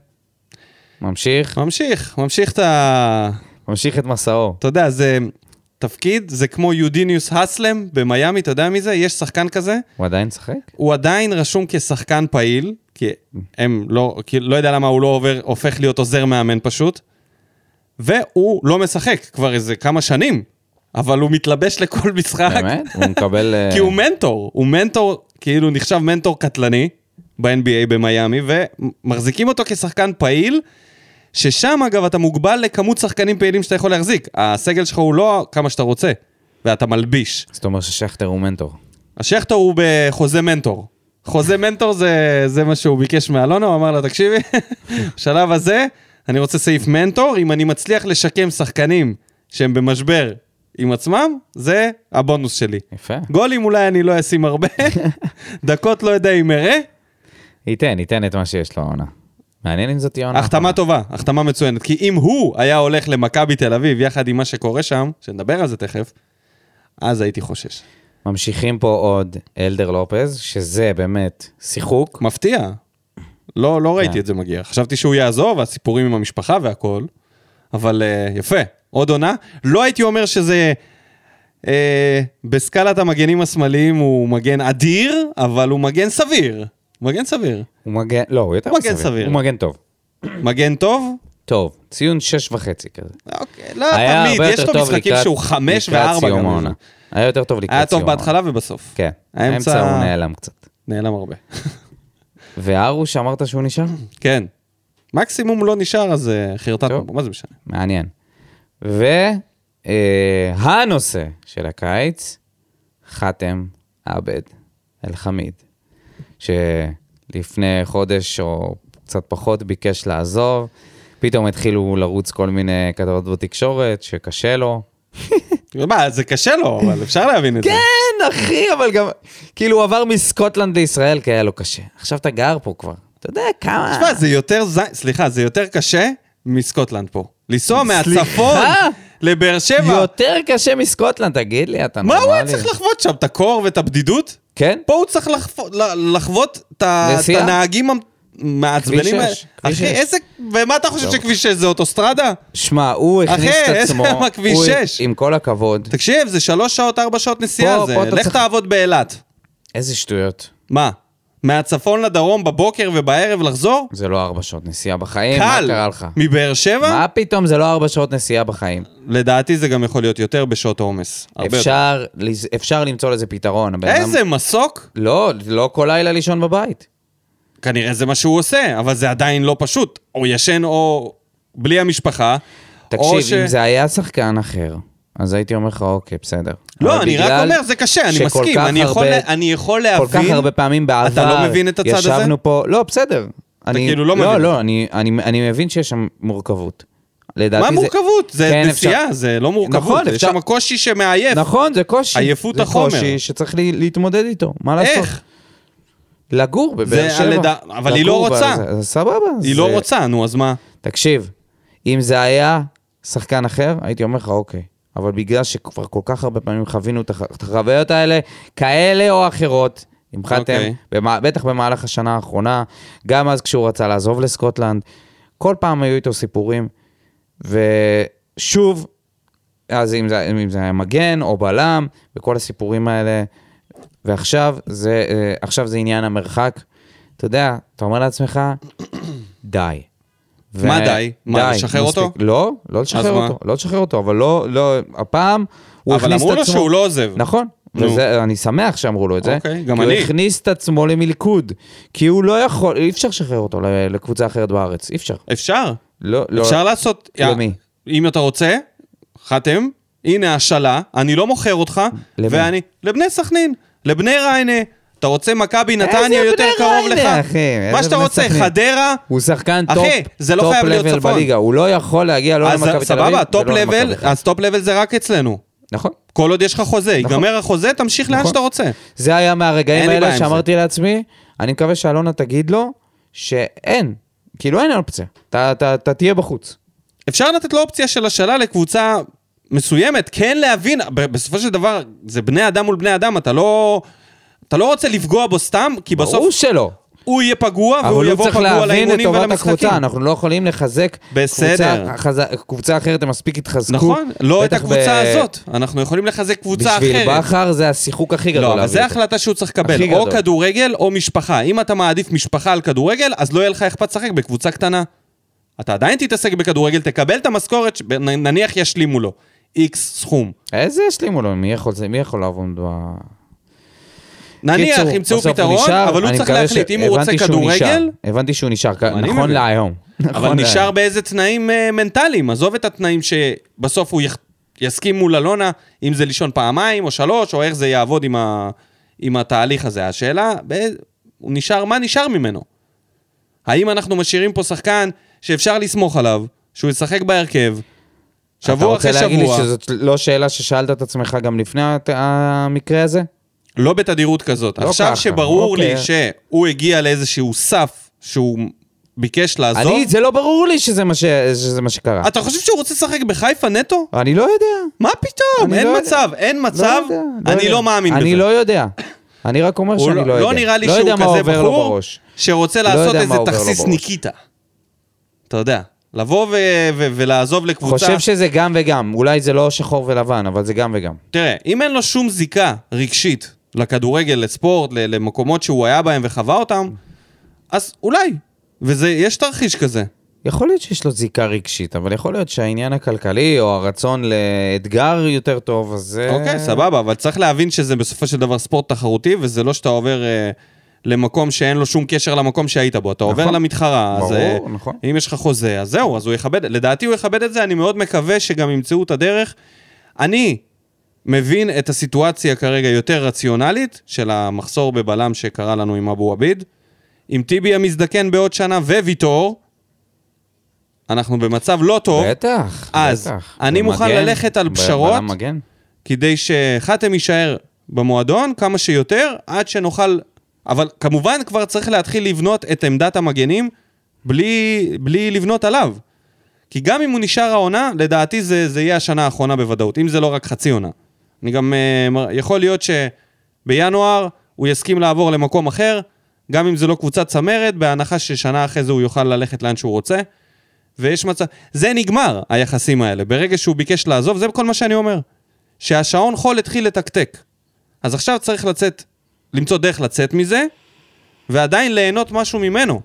[SPEAKER 2] ממשיך?
[SPEAKER 1] ממשיך, ממשיך את ה...
[SPEAKER 2] ממשיך את מסעו.
[SPEAKER 1] אתה יודע, זה תפקיד, זה כמו יודיניוס הסלם במיאמי, אתה יודע מי זה? יש שחקן כזה,
[SPEAKER 2] הוא עדיין משחק?
[SPEAKER 1] *laughs* הוא עדיין רשום כשחקן פעיל, כי הם לא, כי לא יודע למה הוא לא עובר, הופך להיות עוזר מאמן פשוט, והוא לא משחק כבר איזה כמה שנים, אבל הוא מתלבש לכל משחק.
[SPEAKER 2] באמת? הוא מקבל... אה,
[SPEAKER 1] כי הוא מנטור, הוא מנטור, כאילו נחשב מנטור קטלני, ב-NBA במיאמי, ומחזיקים אותו כשחקן פעיל, ששם אגב אתה מוגבל לכמות שחקנים פעילים שאתה יכול להחזיק. הסגל שלך הוא לא כמה שאתה רוצה, ואתה מלביש.
[SPEAKER 2] זאת אומרת ששכטר הוא מנטור.
[SPEAKER 1] השכטר הוא בחוזה מנטור. חוזה מנטור זה, זה מה שהוא ביקש מאלונה, הוא אמר לה, תקשיבי, *laughs* בשלב הזה אני רוצה סעיף מנטור, אם אני מצליח לשקם שחקנים שהם במשבר עם עצמם, זה הבונוס שלי.
[SPEAKER 2] יפה.
[SPEAKER 1] גולים אולי אני לא אשים הרבה, דקות לא יודע אם אראה,
[SPEAKER 2] ייתן, ייתן את מה שיש לו העונה. מעניין אם זאת תהיה עונה.
[SPEAKER 1] החתמה טובה, החתמה מצוינת. כי אם הוא היה הולך למכבי תל אביב יחד עם מה שקורה שם, שנדבר על זה תכף, אז הייתי חושש.
[SPEAKER 2] ממשיכים פה עוד אלדר לופז, שזה באמת שיחוק.
[SPEAKER 1] מפתיע. לא, לא ראיתי
[SPEAKER 2] כן.
[SPEAKER 1] את זה מגיע. חשבתי שהוא יעזוב, הסיפורים עם המשפחה והכל, אבל אה, יפה, עוד עונה. לא הייתי אומר שזה... אה, בסקלת המגנים השמאליים הוא מגן אדיר, אבל הוא מגן סביר. מגן סביר.
[SPEAKER 2] הוא מגן, לא, הוא יותר
[SPEAKER 1] הוא מגן סביר.
[SPEAKER 2] הוא מגן טוב.
[SPEAKER 1] מגן טוב?
[SPEAKER 2] טוב, ציון שש וחצי כזה.
[SPEAKER 1] אוקיי, לא תמיד, יש לו משחקים שהוא חמש
[SPEAKER 2] לקראת
[SPEAKER 1] וארבע
[SPEAKER 2] סיום
[SPEAKER 1] גם.
[SPEAKER 2] העונה. היה יותר טוב לקראת סיום
[SPEAKER 1] היה טוב
[SPEAKER 2] העונה.
[SPEAKER 1] בהתחלה ובסוף.
[SPEAKER 2] כן.
[SPEAKER 1] האמצע-
[SPEAKER 2] האמצע הוא נעלם קצת.
[SPEAKER 1] נעלם הרבה. *laughs*
[SPEAKER 2] והרוש אמרת שהוא נשאר?
[SPEAKER 1] כן. מקסימום לא נשאר, אז אה, חרטטנו,
[SPEAKER 2] טוב.
[SPEAKER 1] בו, מה זה משנה?
[SPEAKER 2] מעניין. והנושא של הקיץ, חאתם עבד אל-חמיד, שלפני חודש או קצת פחות ביקש לעזוב, פתאום התחילו לרוץ כל מיני כתבות בתקשורת שקשה לו.
[SPEAKER 1] כאילו, מה, זה קשה לו, אבל אפשר להבין את זה.
[SPEAKER 2] כן, אחי, אבל גם, כאילו הוא עבר מסקוטלנד לישראל כי היה לו קשה. עכשיו אתה גר פה כבר, אתה יודע כמה...
[SPEAKER 1] תשמע, זה יותר ז... סליחה, זה יותר קשה מסקוטלנד פה. לנסוע מהצפון לבאר שבע.
[SPEAKER 2] יותר קשה מסקוטלנד, תגיד לי, אתה
[SPEAKER 1] מה
[SPEAKER 2] נורמלי.
[SPEAKER 1] הוא היה צריך לחוות שם? את הקור ואת הבדידות?
[SPEAKER 2] כן?
[SPEAKER 1] פה הוא צריך לחפ- ל- לחוות את ה- את
[SPEAKER 2] נסיעה?
[SPEAKER 1] הנהגים המ-
[SPEAKER 2] כביש
[SPEAKER 1] המעצבנים האלה.
[SPEAKER 2] שש, כביש
[SPEAKER 1] אחי,
[SPEAKER 2] שש.
[SPEAKER 1] איזה... ומה אתה חושב
[SPEAKER 2] טוב.
[SPEAKER 1] שכביש 6 זה אוטוסטרדה?
[SPEAKER 2] שמע, הוא הכניס
[SPEAKER 1] אחי,
[SPEAKER 2] את
[SPEAKER 1] איזה
[SPEAKER 2] עצמו,
[SPEAKER 1] למה כביש
[SPEAKER 2] הוא-
[SPEAKER 1] שש?
[SPEAKER 2] עם כל הכבוד,
[SPEAKER 1] תקשיב, זה שלוש שעות, ארבע שעות נסיעה
[SPEAKER 2] פה-
[SPEAKER 1] זה.
[SPEAKER 2] פה אתה
[SPEAKER 1] לך
[SPEAKER 2] צריך-
[SPEAKER 1] תעבוד באילת.
[SPEAKER 2] איזה שטויות.
[SPEAKER 1] מה? מהצפון לדרום בבוקר ובערב לחזור?
[SPEAKER 2] זה לא ארבע שעות נסיעה בחיים, אה, מה
[SPEAKER 1] קל.
[SPEAKER 2] קרה לך?
[SPEAKER 1] מבאר שבע?
[SPEAKER 2] מה פתאום זה לא ארבע שעות נסיעה בחיים?
[SPEAKER 1] לדעתי זה גם יכול להיות יותר בשעות העומס. הרבה יותר.
[SPEAKER 2] אפשר לז- אפשר למצוא לזה פתרון. הבן אדם-
[SPEAKER 1] איזה מסוק?
[SPEAKER 2] לא, לא כל לילה לישון בבית.
[SPEAKER 1] כנראה זה מה שהוא עושה, אבל זה עדיין לא פשוט. או ישן או בלי המשפחה. או ש-
[SPEAKER 2] תקשיב, אם זה היה שחקן אחר, אז הייתי אומר לך, אוקיי, בסדר.
[SPEAKER 1] לא,
[SPEAKER 2] אבל
[SPEAKER 1] אני רק
[SPEAKER 2] בגלל
[SPEAKER 1] אומר, זה קשה, אני
[SPEAKER 2] שכל
[SPEAKER 1] מסכים.
[SPEAKER 2] כך
[SPEAKER 1] אני יכול
[SPEAKER 2] הרבה-
[SPEAKER 1] לה- אני יכול
[SPEAKER 2] כל
[SPEAKER 1] להבין...
[SPEAKER 2] כך הרבה פעמים בעבר,
[SPEAKER 1] אתה לא מבין את הצד הזה?
[SPEAKER 2] ישבנו פה, לא, בסדר. אתה
[SPEAKER 1] כאילו לא
[SPEAKER 2] לא,
[SPEAKER 1] מבין.
[SPEAKER 2] לא, אני, אני, אני מבין שיש שם מורכבות. לדעתי
[SPEAKER 1] מה
[SPEAKER 2] זה-
[SPEAKER 1] מורכבות? זה
[SPEAKER 2] כן,
[SPEAKER 1] נסיעה, זה לא מורכבות.
[SPEAKER 2] נכון,
[SPEAKER 1] יש
[SPEAKER 2] אפשר-
[SPEAKER 1] שם קושי שמעייף.
[SPEAKER 2] נכון, זה קושי.
[SPEAKER 1] עייפות
[SPEAKER 2] זה
[SPEAKER 1] החומר.
[SPEAKER 2] קושי שצריך לי, להתמודד איתו, מה לעשות?
[SPEAKER 1] איך?
[SPEAKER 2] לגור בבאר
[SPEAKER 1] זה
[SPEAKER 2] שבע.
[SPEAKER 1] הלידה- אבל היא לא
[SPEAKER 2] לגור
[SPEAKER 1] רוצה.
[SPEAKER 2] בזה, אז סבבה.
[SPEAKER 1] היא
[SPEAKER 2] זה-
[SPEAKER 1] לא רוצה, נו, אז מה?
[SPEAKER 2] תקשיב, אם זה היה שחקן אחר, הייתי אומר לך, אוקיי. אבל בגלל שכבר כל כך הרבה פעמים חווינו את הח- את החוויות האלה, כאלה או אחרות, המחאתם,
[SPEAKER 1] אוקיי.
[SPEAKER 2] okay. בטח במהלך השנה האחרונה, גם אז כשהוא רצה לעזוב לסקוטלנד, כל פעם היו איתו סיפורים, ושוב, אז אם זה, אם זה היה מגן או בלם, וכל הסיפורים האלה, ועכשיו זה, אה, עכשיו זה עניין המרחק. אתה יודע, אתה אומר לעצמך, *coughs* די.
[SPEAKER 1] מה די? מה, לשחרר
[SPEAKER 2] מספיק.
[SPEAKER 1] אותו?
[SPEAKER 2] לא, לא לשחרר
[SPEAKER 1] מה?
[SPEAKER 2] אותו, לא לשחרר אותו, אבל לא, לא, הפעם הוא הכניס את
[SPEAKER 1] אבל אמרו לו
[SPEAKER 2] עצמו.
[SPEAKER 1] שהוא לא עוזב.
[SPEAKER 2] נכון,
[SPEAKER 1] נו.
[SPEAKER 2] וזה, אני שמח שאמרו לו את זה.
[SPEAKER 1] אוקיי, גם
[SPEAKER 2] כי
[SPEAKER 1] אני.
[SPEAKER 2] הוא הכניס את עצמו למלכוד, כי הוא לא יכול, אי אפשר לשחרר אותו ל- לקבוצה אחרת בארץ, אי אפשר.
[SPEAKER 1] אפשר.
[SPEAKER 2] לא, לא.
[SPEAKER 1] אפשר לעשות...
[SPEAKER 2] למי?
[SPEAKER 1] אם אתה רוצה, חתם, הנה השאלה, אני לא מוכר אותך,
[SPEAKER 2] למי?
[SPEAKER 1] ואני... לבני סכנין, לבני ריינה. אתה רוצה מכבי
[SPEAKER 2] איזה
[SPEAKER 1] נתניה יותר
[SPEAKER 2] בני
[SPEAKER 1] קרוב לך?
[SPEAKER 2] ריינה, אחי,
[SPEAKER 1] מה
[SPEAKER 2] איזה
[SPEAKER 1] שאתה
[SPEAKER 2] בני
[SPEAKER 1] רוצה,
[SPEAKER 2] סכנין.
[SPEAKER 1] חדרה,
[SPEAKER 2] הוא שחקן
[SPEAKER 1] אחי,
[SPEAKER 2] טופ,
[SPEAKER 1] זה לא
[SPEAKER 2] טופ
[SPEAKER 1] חייב להיות
[SPEAKER 2] לבל
[SPEAKER 1] צפון.
[SPEAKER 2] בליגה, הוא לא יכול להגיע
[SPEAKER 1] אז
[SPEAKER 2] לא למכבי תל אביב
[SPEAKER 1] סבבה, טופ
[SPEAKER 2] ולא למכבי
[SPEAKER 1] לבל,
[SPEAKER 2] חיפה.
[SPEAKER 1] אז טופ לבל זה רק אצלנו.
[SPEAKER 2] נכון.
[SPEAKER 1] כל עוד יש לך חוזה,
[SPEAKER 2] נכון.
[SPEAKER 1] ייגמר החוזה, תמשיך לאן
[SPEAKER 2] נכון.
[SPEAKER 1] שאתה רוצה.
[SPEAKER 2] זה היה
[SPEAKER 1] אין
[SPEAKER 2] מהרגעים
[SPEAKER 1] לי בעיה
[SPEAKER 2] האלה
[SPEAKER 1] עם זה.
[SPEAKER 2] שאמרתי לעצמי, אני מקווה שאלונה תגיד לו שאין, כאילו אין אופציה, אתה- אתה אתה תהיה בחוץ.
[SPEAKER 1] אפשר לתת לו אופציה של השאלה לקבוצה מסוימת, כן להבין, ב- בסופו של דבר, זה בני אדם מול בני אדם, אתה לא... אתה לא רוצה לפגוע בו סתם, כי בסוף
[SPEAKER 2] ברור שלא.
[SPEAKER 1] הוא יהיה פגוע, והוא
[SPEAKER 2] אבל הוא
[SPEAKER 1] יבוא
[SPEAKER 2] צריך
[SPEAKER 1] פגוע
[SPEAKER 2] להבין את
[SPEAKER 1] לאימונים
[SPEAKER 2] טובת
[SPEAKER 1] ולמשחקים.
[SPEAKER 2] הקבוצה, אנחנו לא יכולים לחזק
[SPEAKER 1] בסדר.
[SPEAKER 2] קבוצה חז- קבוצה אחרת, הם מספיק התחזקו.
[SPEAKER 1] נכון, לא את
[SPEAKER 2] בטח
[SPEAKER 1] הקבוצה
[SPEAKER 2] ב-
[SPEAKER 1] הזאת. אנחנו יכולים לחזק קבוצה אחרת.
[SPEAKER 2] בשביל בכר זה השיחוק הכי גדול.
[SPEAKER 1] לא, אבל
[SPEAKER 2] להביא
[SPEAKER 1] זו
[SPEAKER 2] אותו.
[SPEAKER 1] החלטה שהוא צריך לקבל.
[SPEAKER 2] הכי
[SPEAKER 1] או
[SPEAKER 2] גדול.
[SPEAKER 1] כדורגל או משפחה. אם אתה מעדיף משפחה על כדורגל, אז לא יהיה לך אכפת לשחק בקבוצה קטנה. אתה עדיין תתעסק בכדורגל, תקבל את המשכורת, ש- נ- נניח ישלימו לו. איקס סכום.
[SPEAKER 2] איזה ישלימו לו? מי יכול, זה- מי יכול לעבוד ב...
[SPEAKER 1] נניח,
[SPEAKER 2] קיצור,
[SPEAKER 1] ימצאו
[SPEAKER 2] בסוף
[SPEAKER 1] פתרון,
[SPEAKER 2] נשאר,
[SPEAKER 1] אבל הוא
[SPEAKER 2] אני
[SPEAKER 1] צריך
[SPEAKER 2] מקווה
[SPEAKER 1] להחליט אם הוא רוצה
[SPEAKER 2] הבנתי שהוא נשאר.
[SPEAKER 1] כדורגל?
[SPEAKER 2] הבנתי שהוא נשאר, כ-
[SPEAKER 1] אני
[SPEAKER 2] נכון
[SPEAKER 1] מבין.
[SPEAKER 2] להיום.
[SPEAKER 1] אבל
[SPEAKER 2] נכון
[SPEAKER 1] נשאר
[SPEAKER 2] להיום.
[SPEAKER 1] באיזה תנאים אה, מנטליים, עזוב את התנאים שבסוף הוא יח- יסכים מול אלונה, אם זה לישון פעמיים או שלוש, או איך זה יעבוד עם, ה... עם התהליך הזה. השאלה, באיזה- הוא נשאר, מה נשאר ממנו? האם אנחנו משאירים פה שחקן שאפשר לסמוך עליו, שהוא ישחק בהרכב, שבוע אחרי
[SPEAKER 2] אתה רוצה להגיד
[SPEAKER 1] שבוע,
[SPEAKER 2] לי שזאת לא שאלה ששאלת את עצמך גם לפני הת- המקרה הזה?
[SPEAKER 1] לא בתדירות כזאת.
[SPEAKER 2] לא
[SPEAKER 1] עכשיו
[SPEAKER 2] ככה,
[SPEAKER 1] שברור לי
[SPEAKER 2] אוקיי.
[SPEAKER 1] שהוא הגיע לאיזשהו סף שהוא ביקש לעזוב,
[SPEAKER 2] אני, זה לא ברור לי שזה מה ש- שזה מה שקרה.
[SPEAKER 1] אתה חושב שהוא רוצה לשחק בחיפה נטו?
[SPEAKER 2] אני לא יודע.
[SPEAKER 1] מה פתאום?
[SPEAKER 2] אני
[SPEAKER 1] אין
[SPEAKER 2] לא יודע.
[SPEAKER 1] מצב, אין
[SPEAKER 2] לא
[SPEAKER 1] מצב,
[SPEAKER 2] יודע,
[SPEAKER 1] אני
[SPEAKER 2] יודע.
[SPEAKER 1] לא מאמין בזה.
[SPEAKER 2] אני לא יודע. אני רק אומר
[SPEAKER 1] הוא
[SPEAKER 2] שאני לא יודע.
[SPEAKER 1] לא נראה לי
[SPEAKER 2] לא
[SPEAKER 1] שהוא
[SPEAKER 2] יודע מה
[SPEAKER 1] כזה
[SPEAKER 2] עובר לו
[SPEAKER 1] בחור
[SPEAKER 2] בראש.
[SPEAKER 1] שרוצה
[SPEAKER 2] לא יודע
[SPEAKER 1] לעשות
[SPEAKER 2] מה
[SPEAKER 1] איזה
[SPEAKER 2] עובר לו
[SPEAKER 1] תכסיס
[SPEAKER 2] בראש.
[SPEAKER 1] ניקיטה. אתה יודע, לבוא ו- ו- ולעזוב לקבוצה...
[SPEAKER 2] חושב שזה גם וגם. אולי זה לא שחור ולבן, אבל זה גם וגם.
[SPEAKER 1] תראה, אם אין לו שום זיקה רגשית לכדורגל, לספורט, ל- למקומות שהוא היה בהם וחווה אותם, אז אולי. ויש תרחיש כזה.
[SPEAKER 2] יכול להיות שיש לו זיקה רגשית, אבל יכול להיות שהעניין הכלכלי או הרצון לאתגר יותר טוב, אז... אה, זה-
[SPEAKER 1] אוקיי, סבבה, אבל צריך להבין שזה בסופו של דבר ספורט תחרותי, וזה לא שאתה עובר אה, למקום שאין לו שום קשר למקום שהיית בו, אתה עובר
[SPEAKER 2] נכון.
[SPEAKER 1] למתחרה, אז
[SPEAKER 2] ברור,
[SPEAKER 1] אה,
[SPEAKER 2] נכון.
[SPEAKER 1] אם יש לך חוזה, אז זהו, אז הוא יכבד, לדעתי הוא יכבד את זה, אני מאוד מקווה שגם ימצאו את הדרך. אני מבין את הסיטואציה כרגע יותר רציונלית של המחסור בבלם שקרה לנו עם אבו עביד. עם טיבי המזדקן בעוד שנה וויטור, אנחנו במצב לא טוב.
[SPEAKER 2] בטח,
[SPEAKER 1] אז,
[SPEAKER 2] בטח.
[SPEAKER 1] אני מוכן
[SPEAKER 2] במגן,
[SPEAKER 1] ללכת על
[SPEAKER 2] ב-
[SPEAKER 1] פשרות.
[SPEAKER 2] בלם מגן.
[SPEAKER 1] כדי שחתם יישאר במועדון כמה שיותר, עד שנוכל... אבל כמובן כבר צריך להתחיל לבנות את עמדת המגנים בלי, בלי לבנות עליו. כי גם אם הוא נשאר העונה, לדעתי זה, זה יהיה השנה האחרונה בוודאות, אם זה לא רק חצי עונה. אני גם... אה, מ- יכול להיות שבינואר הוא יסכים לעבור למקום אחר, גם אם זה לא קבוצת צמרת, בהנחה ששנה אחרי זה הוא יוכל ללכת לאן שהוא רוצה. ויש מצב... זה נגמר, היחסים האלה. ברגע שהוא ביקש לעזוב, זה כל מה שאני אומר. שהשעון חול התחיל לתקתק. אז עכשיו צריך לצאת, למצוא דרך לצאת מזה, ועדיין ליהנות משהו ממנו.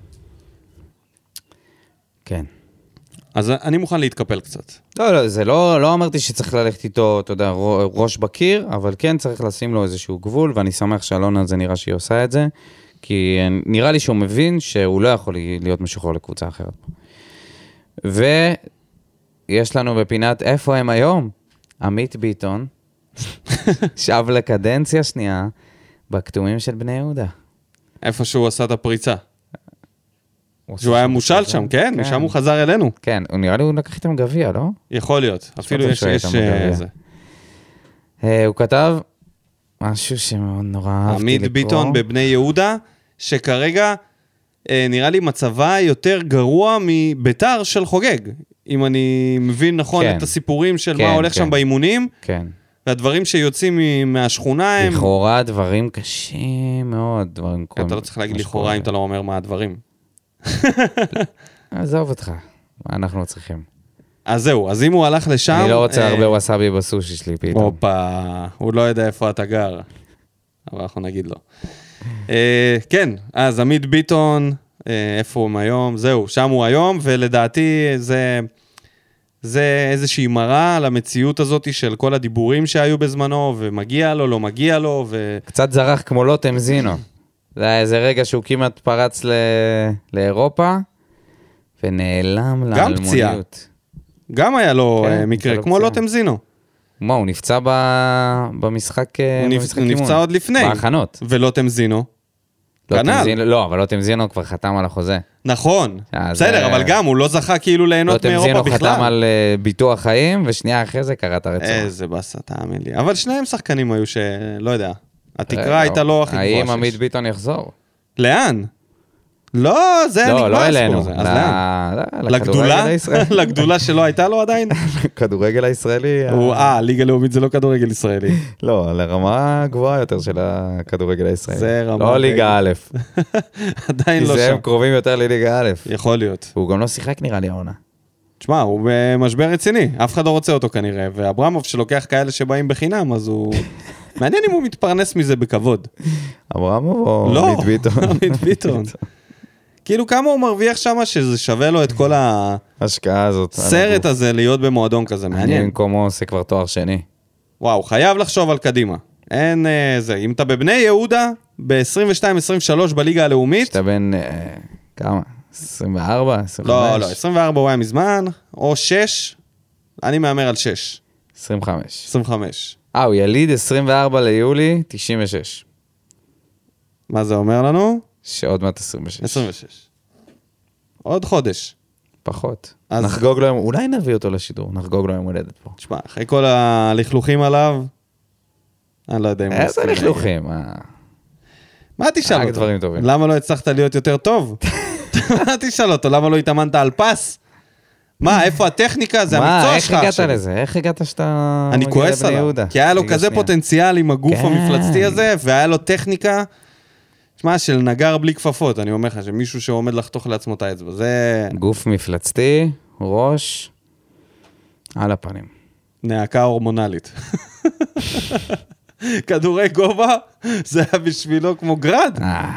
[SPEAKER 2] כן.
[SPEAKER 1] אז אני מוכן להתקפל קצת.
[SPEAKER 2] לא, לא, זה לא, לא אמרתי שצריך ללכת איתו, אתה יודע, רו- ראש בקיר, אבל כן צריך לשים לו איזשהו גבול, ואני שמח שאלונה זה נראה שהיא עושה את זה, כי נראה לי שהוא מבין שהוא לא יכול להיות משוחרר לקבוצה אחרת. ויש לנו בפינת איפה הם היום?
[SPEAKER 1] *laughs*
[SPEAKER 2] עמית ביטון שב לקדנציה שנייה בכתומים של בני יהודה.
[SPEAKER 1] איפה שהוא עשה את הפריצה.
[SPEAKER 2] הוא עושה
[SPEAKER 1] שהוא היה
[SPEAKER 2] שם
[SPEAKER 1] מושל
[SPEAKER 2] חזרה.
[SPEAKER 1] שם, כן? משם הוא חזר אלינו.
[SPEAKER 2] כן, הוא נראה לי הוא לקח איתם גביע, לא?
[SPEAKER 1] יכול להיות. אפילו יש...
[SPEAKER 2] שהוא היה
[SPEAKER 1] יש
[SPEAKER 2] איתם בגביע.
[SPEAKER 1] אה, זה.
[SPEAKER 2] אה, הוא כתב משהו שמאוד נורא אהבתי לקרוא.
[SPEAKER 1] עמית ביטון בבני יהודה, שכרגע אה, נראה לי מצבה יותר גרוע מביתר של חוגג. אם אני מבין נכון
[SPEAKER 2] כן.
[SPEAKER 1] את הסיפורים של
[SPEAKER 2] כן,
[SPEAKER 1] מה הולך
[SPEAKER 2] כן.
[SPEAKER 1] שם באימונים,
[SPEAKER 2] כן.
[SPEAKER 1] והדברים שיוצאים מ- מהשכונה הם...
[SPEAKER 2] לכאורה דברים קשים מאוד, דברים
[SPEAKER 1] כן,
[SPEAKER 2] קורים.
[SPEAKER 1] אתה לא צריך להגיד לכאורה אם
[SPEAKER 2] כן.
[SPEAKER 1] אתה לא אומר מה הדברים. *laughs*
[SPEAKER 2] עזוב אותך, מה אנחנו לא צריכים?
[SPEAKER 1] אז זהו, אז אם הוא הלך לשם...
[SPEAKER 2] אני לא
[SPEAKER 1] אה,
[SPEAKER 2] רוצה הרבה ווסאבי בסושי שלי פתאום.
[SPEAKER 1] הופה, הוא לא יודע איפה אתה גר, אבל אנחנו נגיד לו. אה, כן, אז עמית ביטון, אה, איפה הוא היום? זהו, שם הוא היום, ולדעתי זה, זה איזושהי מראה למציאות הזאת של כל הדיבורים שהיו בזמנו, ומגיע לו, לא מגיע לו, ו...
[SPEAKER 2] קצת זרח כמו לוטם זינו. זה היה איזה רגע שהוא כמעט פרץ ל- לאירופה, ונעלם לאלמוניות.
[SPEAKER 1] גם פציעה. גם היה לו
[SPEAKER 2] כן,
[SPEAKER 1] אה, מקרה,
[SPEAKER 2] הייתה לו
[SPEAKER 1] כמו
[SPEAKER 2] פציעה.
[SPEAKER 1] לוטם זינו.
[SPEAKER 2] מה, הוא נפצע ב... במשחק אה,
[SPEAKER 1] הוא נפ-
[SPEAKER 2] במשחק
[SPEAKER 1] הוא נפצע
[SPEAKER 2] אימון.
[SPEAKER 1] עוד לפני.
[SPEAKER 2] בהכנות.
[SPEAKER 1] ולוטם זינו.
[SPEAKER 2] לוטם
[SPEAKER 1] כנ"ל.
[SPEAKER 2] זינו- לא, אבל לוטם זינו כבר חתם על החוזה.
[SPEAKER 1] נכון,
[SPEAKER 2] אה,
[SPEAKER 1] בסדר,
[SPEAKER 2] זה-
[SPEAKER 1] אבל גם, הוא לא זכה כאילו ליהנות
[SPEAKER 2] לוטם זינו
[SPEAKER 1] מאירופה
[SPEAKER 2] חתם
[SPEAKER 1] בכלל. אה,
[SPEAKER 2] על אה, ביטוח חיים, ושנייה אחרי זה אה, קרע את הרצועה.
[SPEAKER 1] איזה באסה, תאמין לי. אבל שניהם שחקנים היו שלא יודע.
[SPEAKER 2] רגע,
[SPEAKER 1] התקרה הייתה לא הכי
[SPEAKER 2] אה, האם
[SPEAKER 1] גבוהה
[SPEAKER 2] עמית
[SPEAKER 1] שיש.
[SPEAKER 2] ביטון יחזור? לא,
[SPEAKER 1] לאן? לא, זה נגמר
[SPEAKER 2] לא
[SPEAKER 1] הסיפור
[SPEAKER 2] אלינו.
[SPEAKER 1] הזה. אז
[SPEAKER 2] ל-
[SPEAKER 1] לאן?
[SPEAKER 2] ל-
[SPEAKER 1] לגדולה?
[SPEAKER 2] לכדורגל הישראלי.
[SPEAKER 1] *laughs* לגדולה שלא הייתה לו
[SPEAKER 2] *laughs*
[SPEAKER 1] עדיין?
[SPEAKER 2] לכדורגל הישראלי. ה-
[SPEAKER 1] הוא- אה, ליגה לאומית זה לא כדורגל ישראלי. *laughs*
[SPEAKER 2] לא, לרמה גבוהה יותר של הכדורגל הישראלי.
[SPEAKER 1] זה רמה
[SPEAKER 2] לא ליגה א'.
[SPEAKER 1] עדיין
[SPEAKER 2] כי
[SPEAKER 1] לא
[SPEAKER 2] זה
[SPEAKER 1] שם.
[SPEAKER 2] הם קרובים יותר לליגה א'.
[SPEAKER 1] יכול להיות.
[SPEAKER 2] הוא גם לא שיחק נראה לי העונה.
[SPEAKER 1] תשמע, הוא במשבר רציני, אף אחד לא רוצה אותו כנראה, ואברמוב שלוקח כאלה שבאים בחינם, אז הוא...
[SPEAKER 2] *laughs*
[SPEAKER 1] מעניין אם הוא מתפרנס מזה בכבוד.
[SPEAKER 2] אברמוב או
[SPEAKER 1] לא,
[SPEAKER 2] עמית ביטון?
[SPEAKER 1] *laughs* עמית
[SPEAKER 2] *laughs*
[SPEAKER 1] ביטון. כאילו כמה הוא מרוויח שם שזה שווה לו את כל
[SPEAKER 2] Mm. ההשקעה הזאת. על
[SPEAKER 1] הסרט
[SPEAKER 2] הגוף.
[SPEAKER 1] הזה להיות במועדון כזה,
[SPEAKER 2] אני
[SPEAKER 1] מעניין.
[SPEAKER 2] במקומו עושה כבר תואר שני.
[SPEAKER 1] וואו, חייב לחשוב על קדימה. אין אה, זה, אם אתה בבני יהודה, ב-22-23 בליגה הלאומית.
[SPEAKER 2] אתה בן אה, כמה? 24? 25?
[SPEAKER 1] לא, לא, 24 הוא היה מזמן, או 6, אני מהמר על 6,
[SPEAKER 2] 25.
[SPEAKER 1] 25.
[SPEAKER 2] אה, הוא יליד 24 ליולי 96.
[SPEAKER 1] מה זה אומר לנו?
[SPEAKER 2] שעוד מעט 26.
[SPEAKER 1] 26. עוד חודש.
[SPEAKER 2] פחות.
[SPEAKER 1] אז-
[SPEAKER 2] נחגוג לו יום, אולי נביא אותו לשידור, נחגוג לו יום הולדת פה.
[SPEAKER 1] תשמע, אחרי כל הלכלוכים עליו, אני לא יודע אם הוא
[SPEAKER 2] איזה
[SPEAKER 1] יסכים להגיע.
[SPEAKER 2] לכלוכים. אה.
[SPEAKER 1] מה תשאל
[SPEAKER 2] רק
[SPEAKER 1] אותו?
[SPEAKER 2] דברים טובים.
[SPEAKER 1] למה לא הצלחת להיות יותר
[SPEAKER 2] *laughs*
[SPEAKER 1] טוב? מה תשאל אותו? למה לא התאמנת על פס?
[SPEAKER 2] *laughs*
[SPEAKER 1] מה, איפה הטכניקה? זה
[SPEAKER 2] מה,
[SPEAKER 1] המקצוע
[SPEAKER 2] איך
[SPEAKER 1] שלך עכשיו.
[SPEAKER 2] הגעת לזה? איך הגעת שאתה...
[SPEAKER 1] אני
[SPEAKER 2] מגיע
[SPEAKER 1] כועס
[SPEAKER 2] לבני
[SPEAKER 1] עליו,
[SPEAKER 2] יהודה?
[SPEAKER 1] כי היה לו
[SPEAKER 2] רגע,
[SPEAKER 1] כזה
[SPEAKER 2] שנייה.
[SPEAKER 1] פוטנציאל עם הגוף
[SPEAKER 2] כן.
[SPEAKER 1] המפלצתי הזה, והיה לו טכניקה, שמע, של נגר בלי כפפות, אני אומר לך, שמישהו שעומד לחתוך לעצמו את האצבע, זה
[SPEAKER 2] גוף מפלצתי, ראש, על הפנים.
[SPEAKER 1] נאקה הורמונלית. *laughs* כדורי גובה, זה היה בשבילו כמו גראד.
[SPEAKER 2] אה,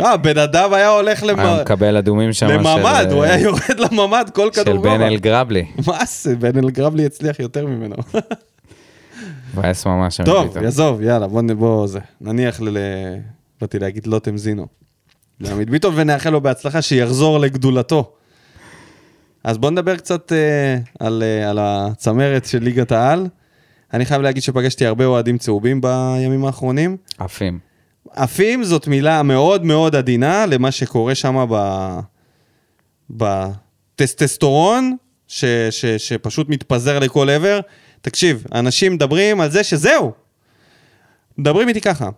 [SPEAKER 1] אה, בן אדם היה הולך למ-
[SPEAKER 2] היה מקבל אדומים שם
[SPEAKER 1] לממ"ד,
[SPEAKER 2] של- אה,
[SPEAKER 1] הוא היה יורד לממ"ד כל
[SPEAKER 2] של
[SPEAKER 1] כדור גובה.
[SPEAKER 2] בן אל גרבלי.
[SPEAKER 1] מה זה, בן אל גרבלי הצליח יותר ממנו.
[SPEAKER 2] מבאס ממש. אני
[SPEAKER 1] טוב,
[SPEAKER 2] פתאום.
[SPEAKER 1] יעזוב, יאללה, בוא נ- בוא זה. נניח ל... ל- באתי להגיד לוטם זינו. לעמית ביטון, ונאחל לו בהצלחה שיחזור לגדולתו. אז בוא נדבר קצת אה, על, אה, על הצמרת של ליגת העל. אני חייב להגיד שפגשתי הרבה אוהדים צהובים בימים האחרונים.
[SPEAKER 2] עפים.
[SPEAKER 1] עפים זאת מילה מאוד מאוד עדינה למה שקורה שם ב... בטסטסטורון, ש... ש... שפשוט מתפזר לכל עבר. תקשיב, אנשים מדברים על זה שזהו. מדברים איתי ככה.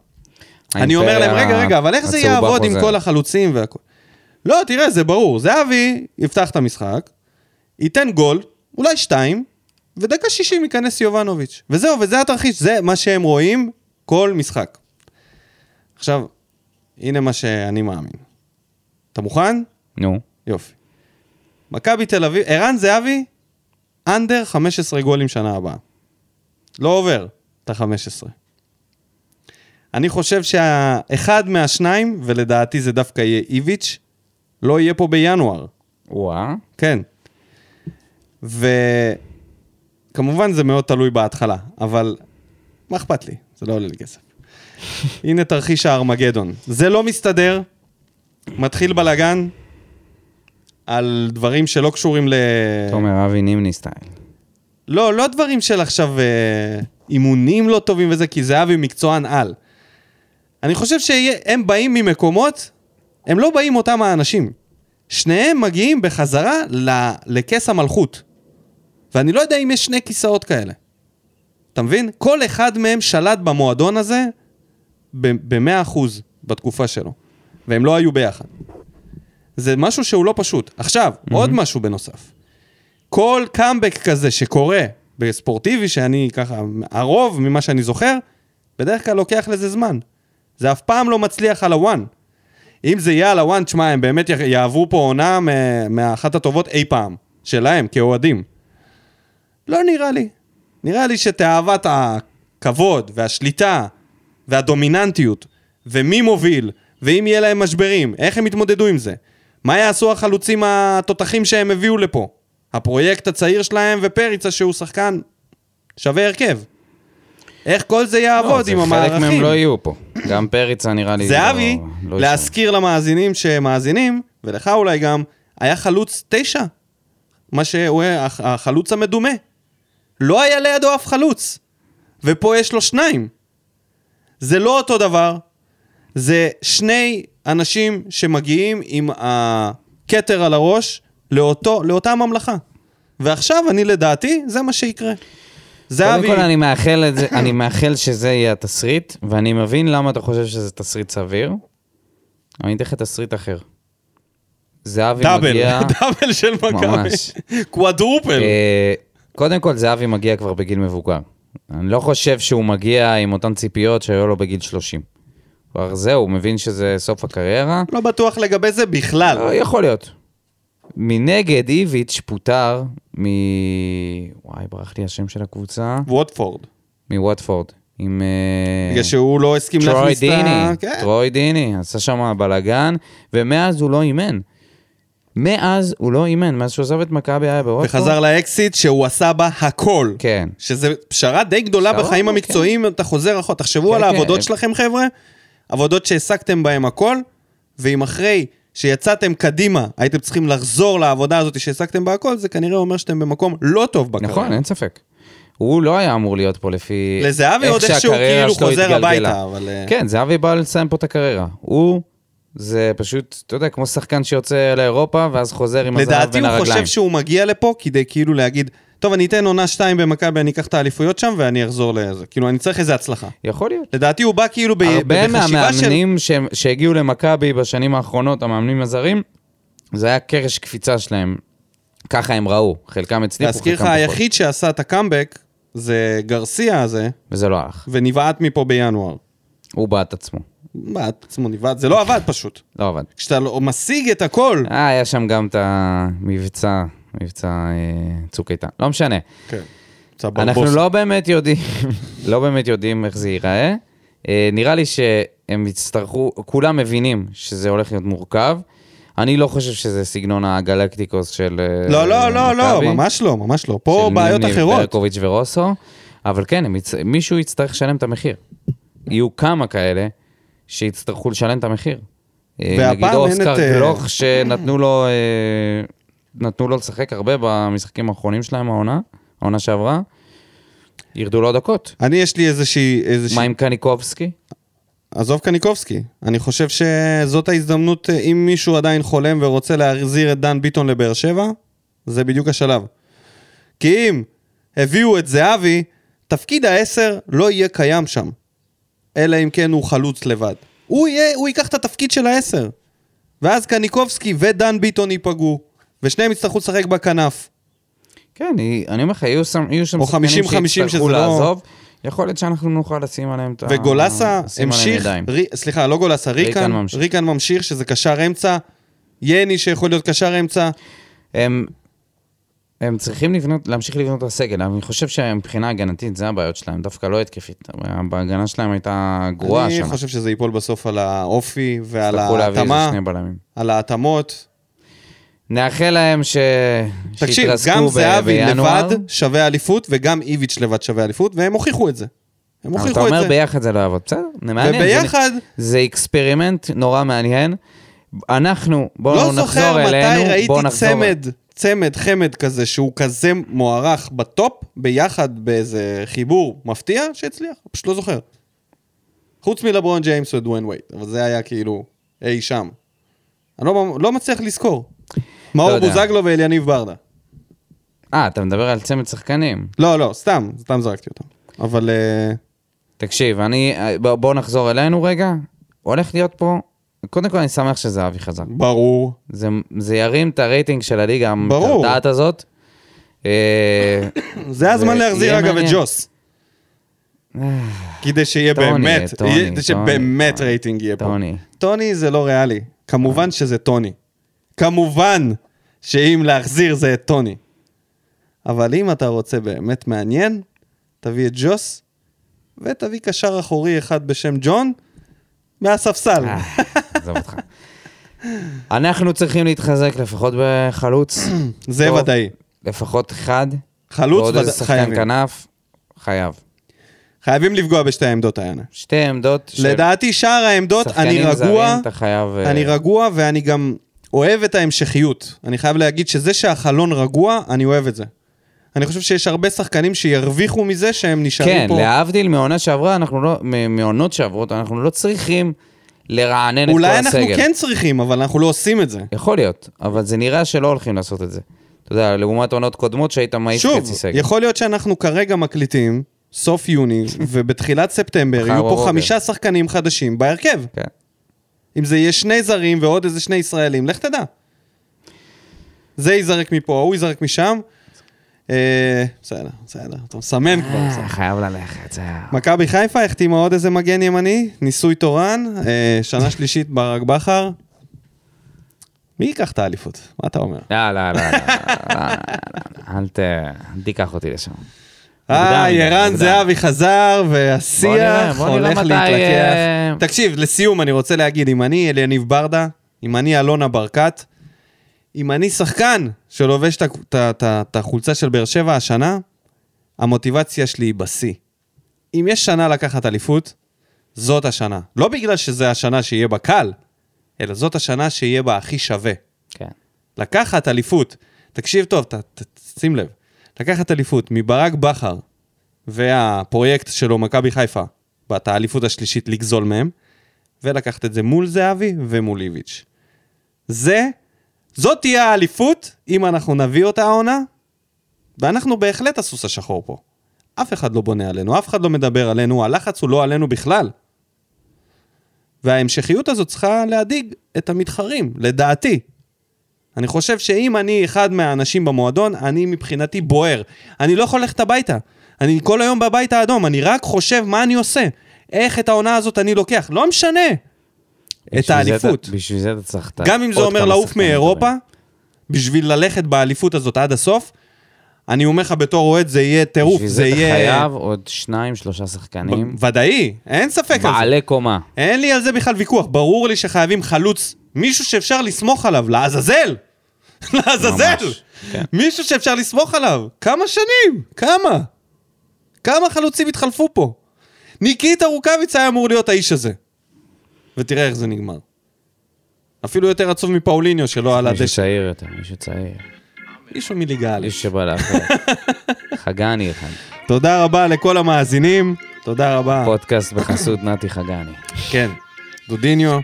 [SPEAKER 1] אני אומר להם, רגע, רגע, אבל איך זה
[SPEAKER 2] הצהובה
[SPEAKER 1] יעבוד עם
[SPEAKER 2] חוזרת."
[SPEAKER 1] כל החלוצים והכל? לא, תראה, זה ברור. זהבי יפתח את המשחק, ייתן גול, אולי שתיים, ודקה שישים ייכנס יובנוביץ'. וזהו, וזה התרחיש, זה מה שהם רואים כל משחק. עכשיו, הנה מה שאני מאמין. אתה מוכן?
[SPEAKER 2] נו,
[SPEAKER 1] יופי. מכבי תל אביב, ערן זהבי, אנדר 15 גולים שנה הבאה. לא עובר את ה-15. אני חושב שהאחד מהשניים, ולדעתי זה דווקא יהיה איביץ', לא יהיה פה בינואר.
[SPEAKER 2] וואה.
[SPEAKER 1] כן. וכמובן זה מאוד תלוי בהתחלה, אבל מה אכפת לי? זה לא עולה לי כסף. הנה תרחיש הארמגדון. זה לא מסתדר, מתחיל בלאגן על דברים שלא קשורים ל... אה.
[SPEAKER 2] תומר אבי נימני סטייל.
[SPEAKER 1] לא, לא דברים של עכשיו אה, אימונים לא טובים וזה, כי זהבי מקצוען על. אני חושב שהם באים ממקומות, הם לא באים אותם האנשים. שניהם מגיעים בחזרה ל- לכס המלכות. ואני לא יודע אם יש שני כיסאות כאלה. אתה מבין? כל אחד מהם שלט במועדון הזה ב-100% בתקופה שלו. והם לא היו ביחד. זה משהו שהוא לא פשוט. עכשיו, mm-hmm. עוד משהו בנוסף. כל קאמבק כזה שקורה בספורטיבי, שאני ככה, הרוב ממה שאני זוכר, בדרך כלל לוקח לזה זמן. זה אף פעם לא מצליח על הוואן. אם זה יהיה על הוואן, תשמע, הם באמת יח- יעברו פה עונה מ- מאחת הטובות אי פעם, שלהם, כאוהדים. לא נראה לי. נראה לי שתאוות הכבוד והשליטה והדומיננטיות, ומי מוביל, ואם יהיה להם משברים, איך הם יתמודדו עם זה? מה יעשו החלוצים התותחים שהם הביאו לפה? הפרויקט הצעיר שלהם ופריצה שהוא שחקן שווה הרכב. איך כל זה יעבוד עם המערכים?
[SPEAKER 2] לא, חלק מהם לא יהיו פה. גם פריצה נראה לי.
[SPEAKER 1] זהבי,
[SPEAKER 2] לא- לא
[SPEAKER 1] להזכיר למאזינים שמאזינים, ולך אולי גם, היה חלוץ תשע. מה שהוא היה הח- החלוץ המדומה. לא היה לידו אף חלוץ. ופה יש לו שניים. זה לא אותו דבר, זה שני אנשים שמגיעים עם הכתר על הראש לאותו, לאותה ממלכה. ועכשיו אני לדעתי, זה מה שיקרה.
[SPEAKER 2] קודם
[SPEAKER 1] זהבי,
[SPEAKER 2] כל, אני מאחל, את זה, אני מאחל שזה יהיה התסריט, ואני מבין למה אתה חושב שזה תסריט סביר. אבל אני אתן לך תסריט אחר. זהבי
[SPEAKER 1] דאבל,
[SPEAKER 2] מגיע...
[SPEAKER 1] *laughs* דאבל של מכבי.
[SPEAKER 2] ממש.
[SPEAKER 1] קוואדרופל.
[SPEAKER 2] אה, קודם כל, זהבי מגיע כבר בגיל מבוגר. אני לא חושב שהוא מגיע עם אותן ציפיות שהיו לו בגיל 30. כבר זהו, הוא מבין שזה סוף הקריירה.
[SPEAKER 1] לא בטוח לגבי זה בכלל.
[SPEAKER 2] אה, יכול להיות. מנגד, איביץ' פוטר מ... וואי, ברח לי השם של הקבוצה.
[SPEAKER 1] ווטפורד.
[SPEAKER 2] כן. מווטפורד. עם... אה,
[SPEAKER 1] בגלל שהוא לא הסכים
[SPEAKER 2] טרוי
[SPEAKER 1] להכניס את
[SPEAKER 2] דיני,
[SPEAKER 1] ה... כן.
[SPEAKER 2] טרוי דיני, עשה שם בלאגן, ומאז הוא לא אימן. מאז הוא לא אימן, מאז שהוא עזב את מכבי היה בוואטפורד.
[SPEAKER 1] וחזר לאקסיט שהוא עשה בה הכל.
[SPEAKER 2] כן.
[SPEAKER 1] שזה פשרה די גדולה
[SPEAKER 2] פשרה,
[SPEAKER 1] בחיים
[SPEAKER 2] כן.
[SPEAKER 1] המקצועיים, אתה חוזר אחורה. תחשבו
[SPEAKER 2] כן,
[SPEAKER 1] על
[SPEAKER 2] כן.
[SPEAKER 1] העבודות שלכם, חבר'ה. עבודות שהעסקתם בהן הכל, ואם אחרי שיצאתם קדימה הייתם צריכים לחזור לעבודה הזאת שהעסקתם בה הכל, זה כנראה אומר שאתם במקום לא טוב בקריירה.
[SPEAKER 2] נכון, אין ספק. הוא לא היה אמור להיות פה לפי...
[SPEAKER 1] לזהבי
[SPEAKER 2] איך
[SPEAKER 1] עוד איכשהו
[SPEAKER 2] שהקריירה
[SPEAKER 1] כאילו
[SPEAKER 2] שלו
[SPEAKER 1] חוזר
[SPEAKER 2] התגלגלה.
[SPEAKER 1] הביתה, אבל, אה,
[SPEAKER 2] כן, זהבי בא לסיים פה את הקריירה. הוא, זה פשוט, אתה יודע, כמו שחקן שיוצא לאירופה, ואז חוזר עם הזהב
[SPEAKER 1] לדעתי
[SPEAKER 2] בין
[SPEAKER 1] הוא
[SPEAKER 2] הרגליים.
[SPEAKER 1] חושב שהוא מגיע לפה כדי כאילו להגיד, טוב, אני אתן עונה שתיים במכבי, אני אקח את האליפויות שם ואני אחזור לזה. כאילו, אני צריך איזה הצלחה.
[SPEAKER 2] יכול להיות.
[SPEAKER 1] לדעתי הוא בא כאילו ב...
[SPEAKER 2] הרבה
[SPEAKER 1] בחשיבה של...
[SPEAKER 2] מהמאמנים שהם- שהגיעו למכבי בשנים האחרונות, המאמנים הזרים, זה היה קרש קפיצה שלהם. ככה הם ראו, חלקם הצליחו, חלקם
[SPEAKER 1] להזכיר לך,
[SPEAKER 2] פחות.
[SPEAKER 1] היחיד שעשה את הקאמבק זה גרסיה הזה,
[SPEAKER 2] וזה לא הלך.
[SPEAKER 1] ונבעט מפה בינואר.
[SPEAKER 2] הוא בעט עצמו.
[SPEAKER 1] בעט עצמו נבעט, זה לא עבד פשוט.
[SPEAKER 2] לא עבד.
[SPEAKER 1] כשאתה לא- משיג את הכל...
[SPEAKER 2] אה, היה שם גם את המבצע, מבצע אה, צוק איתן. לא משנה.
[SPEAKER 1] כן. אתה
[SPEAKER 2] אנחנו
[SPEAKER 1] ברבוס.
[SPEAKER 2] לא באמת יודעים, *laughs* לא באמת יודעים איך זה ייראה. אה, נראה לי שהם יצטרכו, כולם מבינים שזה הולך להיות מורכב. אני לא חושב שזה סגנון הגלקטיקוס של אה,
[SPEAKER 1] לא, לא, לא, לא,
[SPEAKER 2] מכבי,
[SPEAKER 1] ממש לא, ממש לא.
[SPEAKER 2] של
[SPEAKER 1] פה בעיות
[SPEAKER 2] ניב
[SPEAKER 1] אחרות.
[SPEAKER 2] ברקוביץ' ורוסו, אבל כן, הם יצ... מישהו יצטרך לשלם את המחיר. יהיו כמה כאלה שיצטרכו לשלם את המחיר. אה,
[SPEAKER 1] והפעם
[SPEAKER 2] נגיד
[SPEAKER 1] אין
[SPEAKER 2] אוסקר
[SPEAKER 1] את, אה,
[SPEAKER 2] גלוך שנתנו לו, אה, נתנו לו לשחק הרבה במשחקים האחרונים שלהם העונה, העונה שעברה, ירדו לו דקות.
[SPEAKER 1] אני, יש לי איזושהי... איזושהי-
[SPEAKER 2] מה עם קניקובסקי?
[SPEAKER 1] עזוב קניקובסקי, אני חושב שזאת ההזדמנות, אה, אם מישהו עדיין חולם ורוצה להחזיר את דן ביטון לבאר שבע, זה בדיוק השלב. כי אם הביאו את זהבי, תפקיד העשר לא יהיה קיים שם. אלא אם כן הוא חלוץ לבד. הוא, יהיה, הוא ייקח את התפקיד של העשר. ואז קניקובסקי ודן ביטון ייפגעו, ושניהם יצטרכו לשחק בכנף.
[SPEAKER 2] כן, היא- אני אומר לך, יהיו שם יהיו שם
[SPEAKER 1] או 50-50
[SPEAKER 2] שחקנים
[SPEAKER 1] שזה
[SPEAKER 2] שיצטרכו
[SPEAKER 1] לא-
[SPEAKER 2] לעזוב. יכול להיות שאנחנו נוכל לשים עליהם את ה...
[SPEAKER 1] וגולסה
[SPEAKER 2] לשים אה, עליהם
[SPEAKER 1] המשיך,
[SPEAKER 2] ידיים.
[SPEAKER 1] רי, סליחה, לא גולסה, ריקן,
[SPEAKER 2] ריקן
[SPEAKER 1] ריקן
[SPEAKER 2] ממשיך.
[SPEAKER 1] ממשיך, ריקן ממשיך שזה קשר אמצע, יני שיכול להיות קשר אמצע,
[SPEAKER 2] הם, הם צריכים לבנות, להמשיך לבנות את הסגל, אבל אני חושב שמבחינה הגנתית זה הבעיות שלהם, דווקא לא התקפית. ההגנה שלהם הייתה גרועה
[SPEAKER 1] אני
[SPEAKER 2] השנה.
[SPEAKER 1] חושב שזה ייפול בסוף על האופי ועל
[SPEAKER 2] יצטרכו להביא איזה
[SPEAKER 1] ההתאמה,
[SPEAKER 2] שני בלמים.
[SPEAKER 1] על ההתאמות.
[SPEAKER 2] נאחל להם ש...
[SPEAKER 1] תקשיב,
[SPEAKER 2] שיתרסקו
[SPEAKER 1] גם
[SPEAKER 2] ב-
[SPEAKER 1] זהבי
[SPEAKER 2] בינואר.
[SPEAKER 1] לבד שווה אליפות, וגם איביץ' לבד שווה אליפות, והם הוכיחו את זה. הם
[SPEAKER 2] אבל אתה
[SPEAKER 1] הוכיחו את
[SPEAKER 2] אומר
[SPEAKER 1] זה.
[SPEAKER 2] ביחד זה לא יעבוד, בסדר? זה מעניין. זה-
[SPEAKER 1] וביחד,
[SPEAKER 2] זה אקספרימנט נורא מעניין. אנחנו,
[SPEAKER 1] לא
[SPEAKER 2] בואו נחזור
[SPEAKER 1] זוכר
[SPEAKER 2] אלינו,
[SPEAKER 1] מתי ראיתי
[SPEAKER 2] בואו נחזור.
[SPEAKER 1] צמד, צמד חמד כזה, שהוא כזה מוערך בטופ, ביחד באיזה חיבור מפתיע שהצליח, פשוט לא זוכר. חוץ מלברון ג'יימס ודוויין וייט, אבל זה היה כאילו אי שם. אני לא, לא מצליח לזכור. מאור
[SPEAKER 2] יודע.
[SPEAKER 1] בוזגלו ואליניב ברדה.
[SPEAKER 2] אה, אתה מדבר על צמד שחקנים.
[SPEAKER 1] לא, לא, סתם, סתם זרקתי אותם. אבל אה,
[SPEAKER 2] תקשיב, אני... בואו בוא נחזור אלינו רגע. הולך להיות פה... קודם כל, אני שמח שזהבי חזר.
[SPEAKER 1] ברור.
[SPEAKER 2] זה, זה ירים את הרייטינג של הליגה
[SPEAKER 1] ברור.
[SPEAKER 2] המטרטעת הזאת. אה,
[SPEAKER 1] זה הזמן
[SPEAKER 2] זה
[SPEAKER 1] להחזיר
[SPEAKER 2] יהיה
[SPEAKER 1] אגב את
[SPEAKER 2] מעניין.
[SPEAKER 1] ג'וס. כדי שיהיה
[SPEAKER 2] טוני,
[SPEAKER 1] באמת,
[SPEAKER 2] טוני,
[SPEAKER 1] יהיה-
[SPEAKER 2] טוני,
[SPEAKER 1] שבאמת
[SPEAKER 2] טוני.
[SPEAKER 1] רייטינג יהיה פה.
[SPEAKER 2] טוני. אה.
[SPEAKER 1] טוני זה לא ריאלי. כמובן שזה טוני. כמובן שאם להחזיר זה את טוני. אבל אם אתה רוצה באמת מעניין, תביא את ג'וס, ותביא קשר אחורי אחד בשם ג'ון, מהספסל.
[SPEAKER 2] אה, עזוב אותך. אנחנו צריכים להתחזק לפחות בחלוץ.
[SPEAKER 1] זה
[SPEAKER 2] טוב,
[SPEAKER 1] ודאי.
[SPEAKER 2] לפחות אחד.
[SPEAKER 1] חלוץ
[SPEAKER 2] ועוד איזה
[SPEAKER 1] ודאי,
[SPEAKER 2] שחקן
[SPEAKER 1] חייבים.
[SPEAKER 2] כנף. חייב.
[SPEAKER 1] חייבים לפגוע בשתי העמדות האלה.
[SPEAKER 2] שתי עמדות של
[SPEAKER 1] לדעתי שאר העמדות, אני
[SPEAKER 2] שחקנים
[SPEAKER 1] רגוע,
[SPEAKER 2] זרים, אתה חייב... אה,
[SPEAKER 1] אני רגוע ואני גם אוהב את ההמשכיות. אני חייב להגיד שזה שהחלון רגוע, אני אוהב את זה. אני חושב שיש הרבה שחקנים שירוויחו מזה שהם נשארים
[SPEAKER 2] כן,
[SPEAKER 1] פה.
[SPEAKER 2] להבדיל מעונה שעברה, אנחנו לא... מ- מעונות שעברות, אנחנו לא צריכים לרענן את כל
[SPEAKER 1] אולי
[SPEAKER 2] הסגל.
[SPEAKER 1] אנחנו כן צריכים, אבל אנחנו לא עושים את זה.
[SPEAKER 2] יכול להיות, אבל זה נראה שלא הולכים לעשות את זה. אתה יודע, לעומת עונות קודמות שהיית מעיף
[SPEAKER 1] שוב,
[SPEAKER 2] חצי סגל.
[SPEAKER 1] יכול להיות שאנחנו כרגע מקליטים סוף
[SPEAKER 2] *laughs*
[SPEAKER 1] יוני, ובתחילת ספטמבר
[SPEAKER 2] מחר
[SPEAKER 1] יהיו פה
[SPEAKER 2] בבוקר.
[SPEAKER 1] חמישה שחקנים חדשים בהרכב.
[SPEAKER 2] כן.
[SPEAKER 1] אם זה יהיה שני זרים ועוד איזה שני ישראלים, לך תדע. זה ייזרק מפה, ההוא ייזרק משם. אה, בסדר, בסדר, אתה מסמן כבר. בסדר.
[SPEAKER 2] אה, חייב ללכת, זהו.
[SPEAKER 1] מכבי חיפה החתימה עוד איזה מגן ימני, ניסוי תורן, אה, שנה שלישית ברק בכר. מי ייקח את האליפות? מה אתה אומר?
[SPEAKER 2] לא, לא, לא, לא, לא, לא, לא, אל ת... אל תיקח אותי לשם.
[SPEAKER 1] אה,
[SPEAKER 2] מוקדם,
[SPEAKER 1] ירן
[SPEAKER 2] מוקדם.
[SPEAKER 1] זאבי חזר,
[SPEAKER 2] בוא נראה,
[SPEAKER 1] והשיח
[SPEAKER 2] בוא נראה
[SPEAKER 1] הולך
[SPEAKER 2] מתי,
[SPEAKER 1] להתלקח.
[SPEAKER 2] אה,
[SPEAKER 1] תקשיב, לסיום אני רוצה להגיד, אם אני אליניב ברדה, אם אני אלונה ברקת, אם אני שחקן שלובש את ה- את ה- את ה- את החולצה של באר שבע השנה, המוטיבציה שלי היא בשיא. אם יש שנה לקחת אליפות, זאת השנה. לא בגלל שזו השנה שיהיה בה קל, אלא זאת השנה שיהיה בה הכי שווה.
[SPEAKER 2] כן.
[SPEAKER 1] לקחת אליפות, תקשיב טוב, ת, ת, שים לב, לקחת אליפות מברק בכר והפרויקט שלו, מכבי חיפה, בת האליפות השלישית לגזול מהם, ולקחת את זה מול זהבי ומול איביץ'. זה, זאת תהיה האליפות, אם אנחנו נביא אותה העונה, ואנחנו בהחלט הסוס השחור פה. אף אחד לא בונה עלינו, אף אחד לא מדבר עלינו, הלחץ הוא לא עלינו בכלל. וההמשכיות הזאת צריכה להדאיג את המתחרים, לדעתי. אני חושב שאם אני אחד מהאנשים במועדון, אני מבחינתי בוער. אני לא יכול ללכת הביתה. אני כל היום בבית האדום, אני רק חושב מה אני עושה. איך את העונה הזאת אני לוקח, לא משנה. את
[SPEAKER 2] בשביל זה אתה-
[SPEAKER 1] האליפות.
[SPEAKER 2] בשביל זה אתה צריך... את ה-
[SPEAKER 1] גם אם זה
[SPEAKER 2] עוד
[SPEAKER 1] אומר
[SPEAKER 2] כמה
[SPEAKER 1] לעוף
[SPEAKER 2] שחקנים
[SPEAKER 1] מאירופה,
[SPEAKER 2] טובים.
[SPEAKER 1] בשביל ללכת באליפות הזאת עד הסוף, אני אומר לך בתור אוהד, זה יהיה טירוף,
[SPEAKER 2] בשביל
[SPEAKER 1] זה
[SPEAKER 2] אתה
[SPEAKER 1] יהיה...
[SPEAKER 2] חייב עוד שניים, שלושה שחקנים.
[SPEAKER 1] ב- ודאי, אין ספק על זה.
[SPEAKER 2] בעלי קומה.
[SPEAKER 1] אין לי על זה בכלל ויכוח, ברור לי שחייבים חלוץ, מישהו שאפשר לסמוך עליו, לעזאזל! *laughs* לעזאזל!
[SPEAKER 2] ממש, כן.
[SPEAKER 1] מישהו שאפשר לסמוך עליו, כמה שנים? כמה? כמה חלוצים התחלפו פה? ניקיטה רוקאביץ היה אמור להיות האיש הזה. ותראה איך זה נגמר. אפילו יותר עצוב מפאוליניו שלא על
[SPEAKER 2] מישהו
[SPEAKER 1] הדשא.
[SPEAKER 2] צעיר יותר, מישהו צעיר.
[SPEAKER 1] מישהו מליגה א'.
[SPEAKER 2] מישהו שבא לאחר. חגני אחד.
[SPEAKER 1] תודה רבה לכל המאזינים, תודה רבה.
[SPEAKER 2] פודקאסט בחסות נתי חגני.
[SPEAKER 1] כן, דודיניו,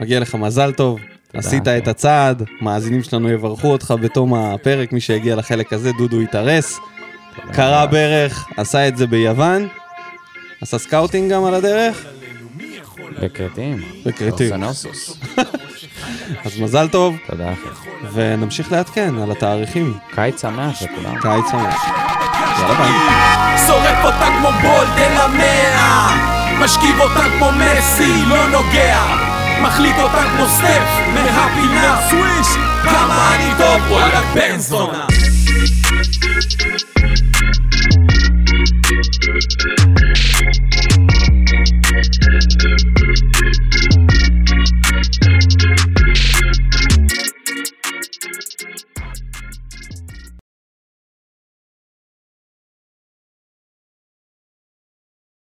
[SPEAKER 1] מגיע לך מזל טוב. עשית
[SPEAKER 2] אחי.
[SPEAKER 1] את הצעד, מאזינים שלנו יברכו אותך בתום הפרק, מי שהגיע לחלק הזה, דודו התארס, קרע ברך, עשה את זה ביוון, עשה סקאוטינג גם על הדרך,
[SPEAKER 2] בקרטים.
[SPEAKER 1] וכרתים.
[SPEAKER 2] אוסנוסוס.
[SPEAKER 1] אז מזל טוב,
[SPEAKER 2] תודה אחי.
[SPEAKER 1] ונמשיך לעדכן על התאריכים.
[SPEAKER 2] קיץ שמח לכולם.
[SPEAKER 1] קיץ שמח. יאללה ביי.
[SPEAKER 4] שורף אותה כמו בולדן המאה משכיב אותה כמו מסי, לא נוגע מחליט אותה כמו סטף מהפינה סוויש כמה אני טוב, וואלה בן זונה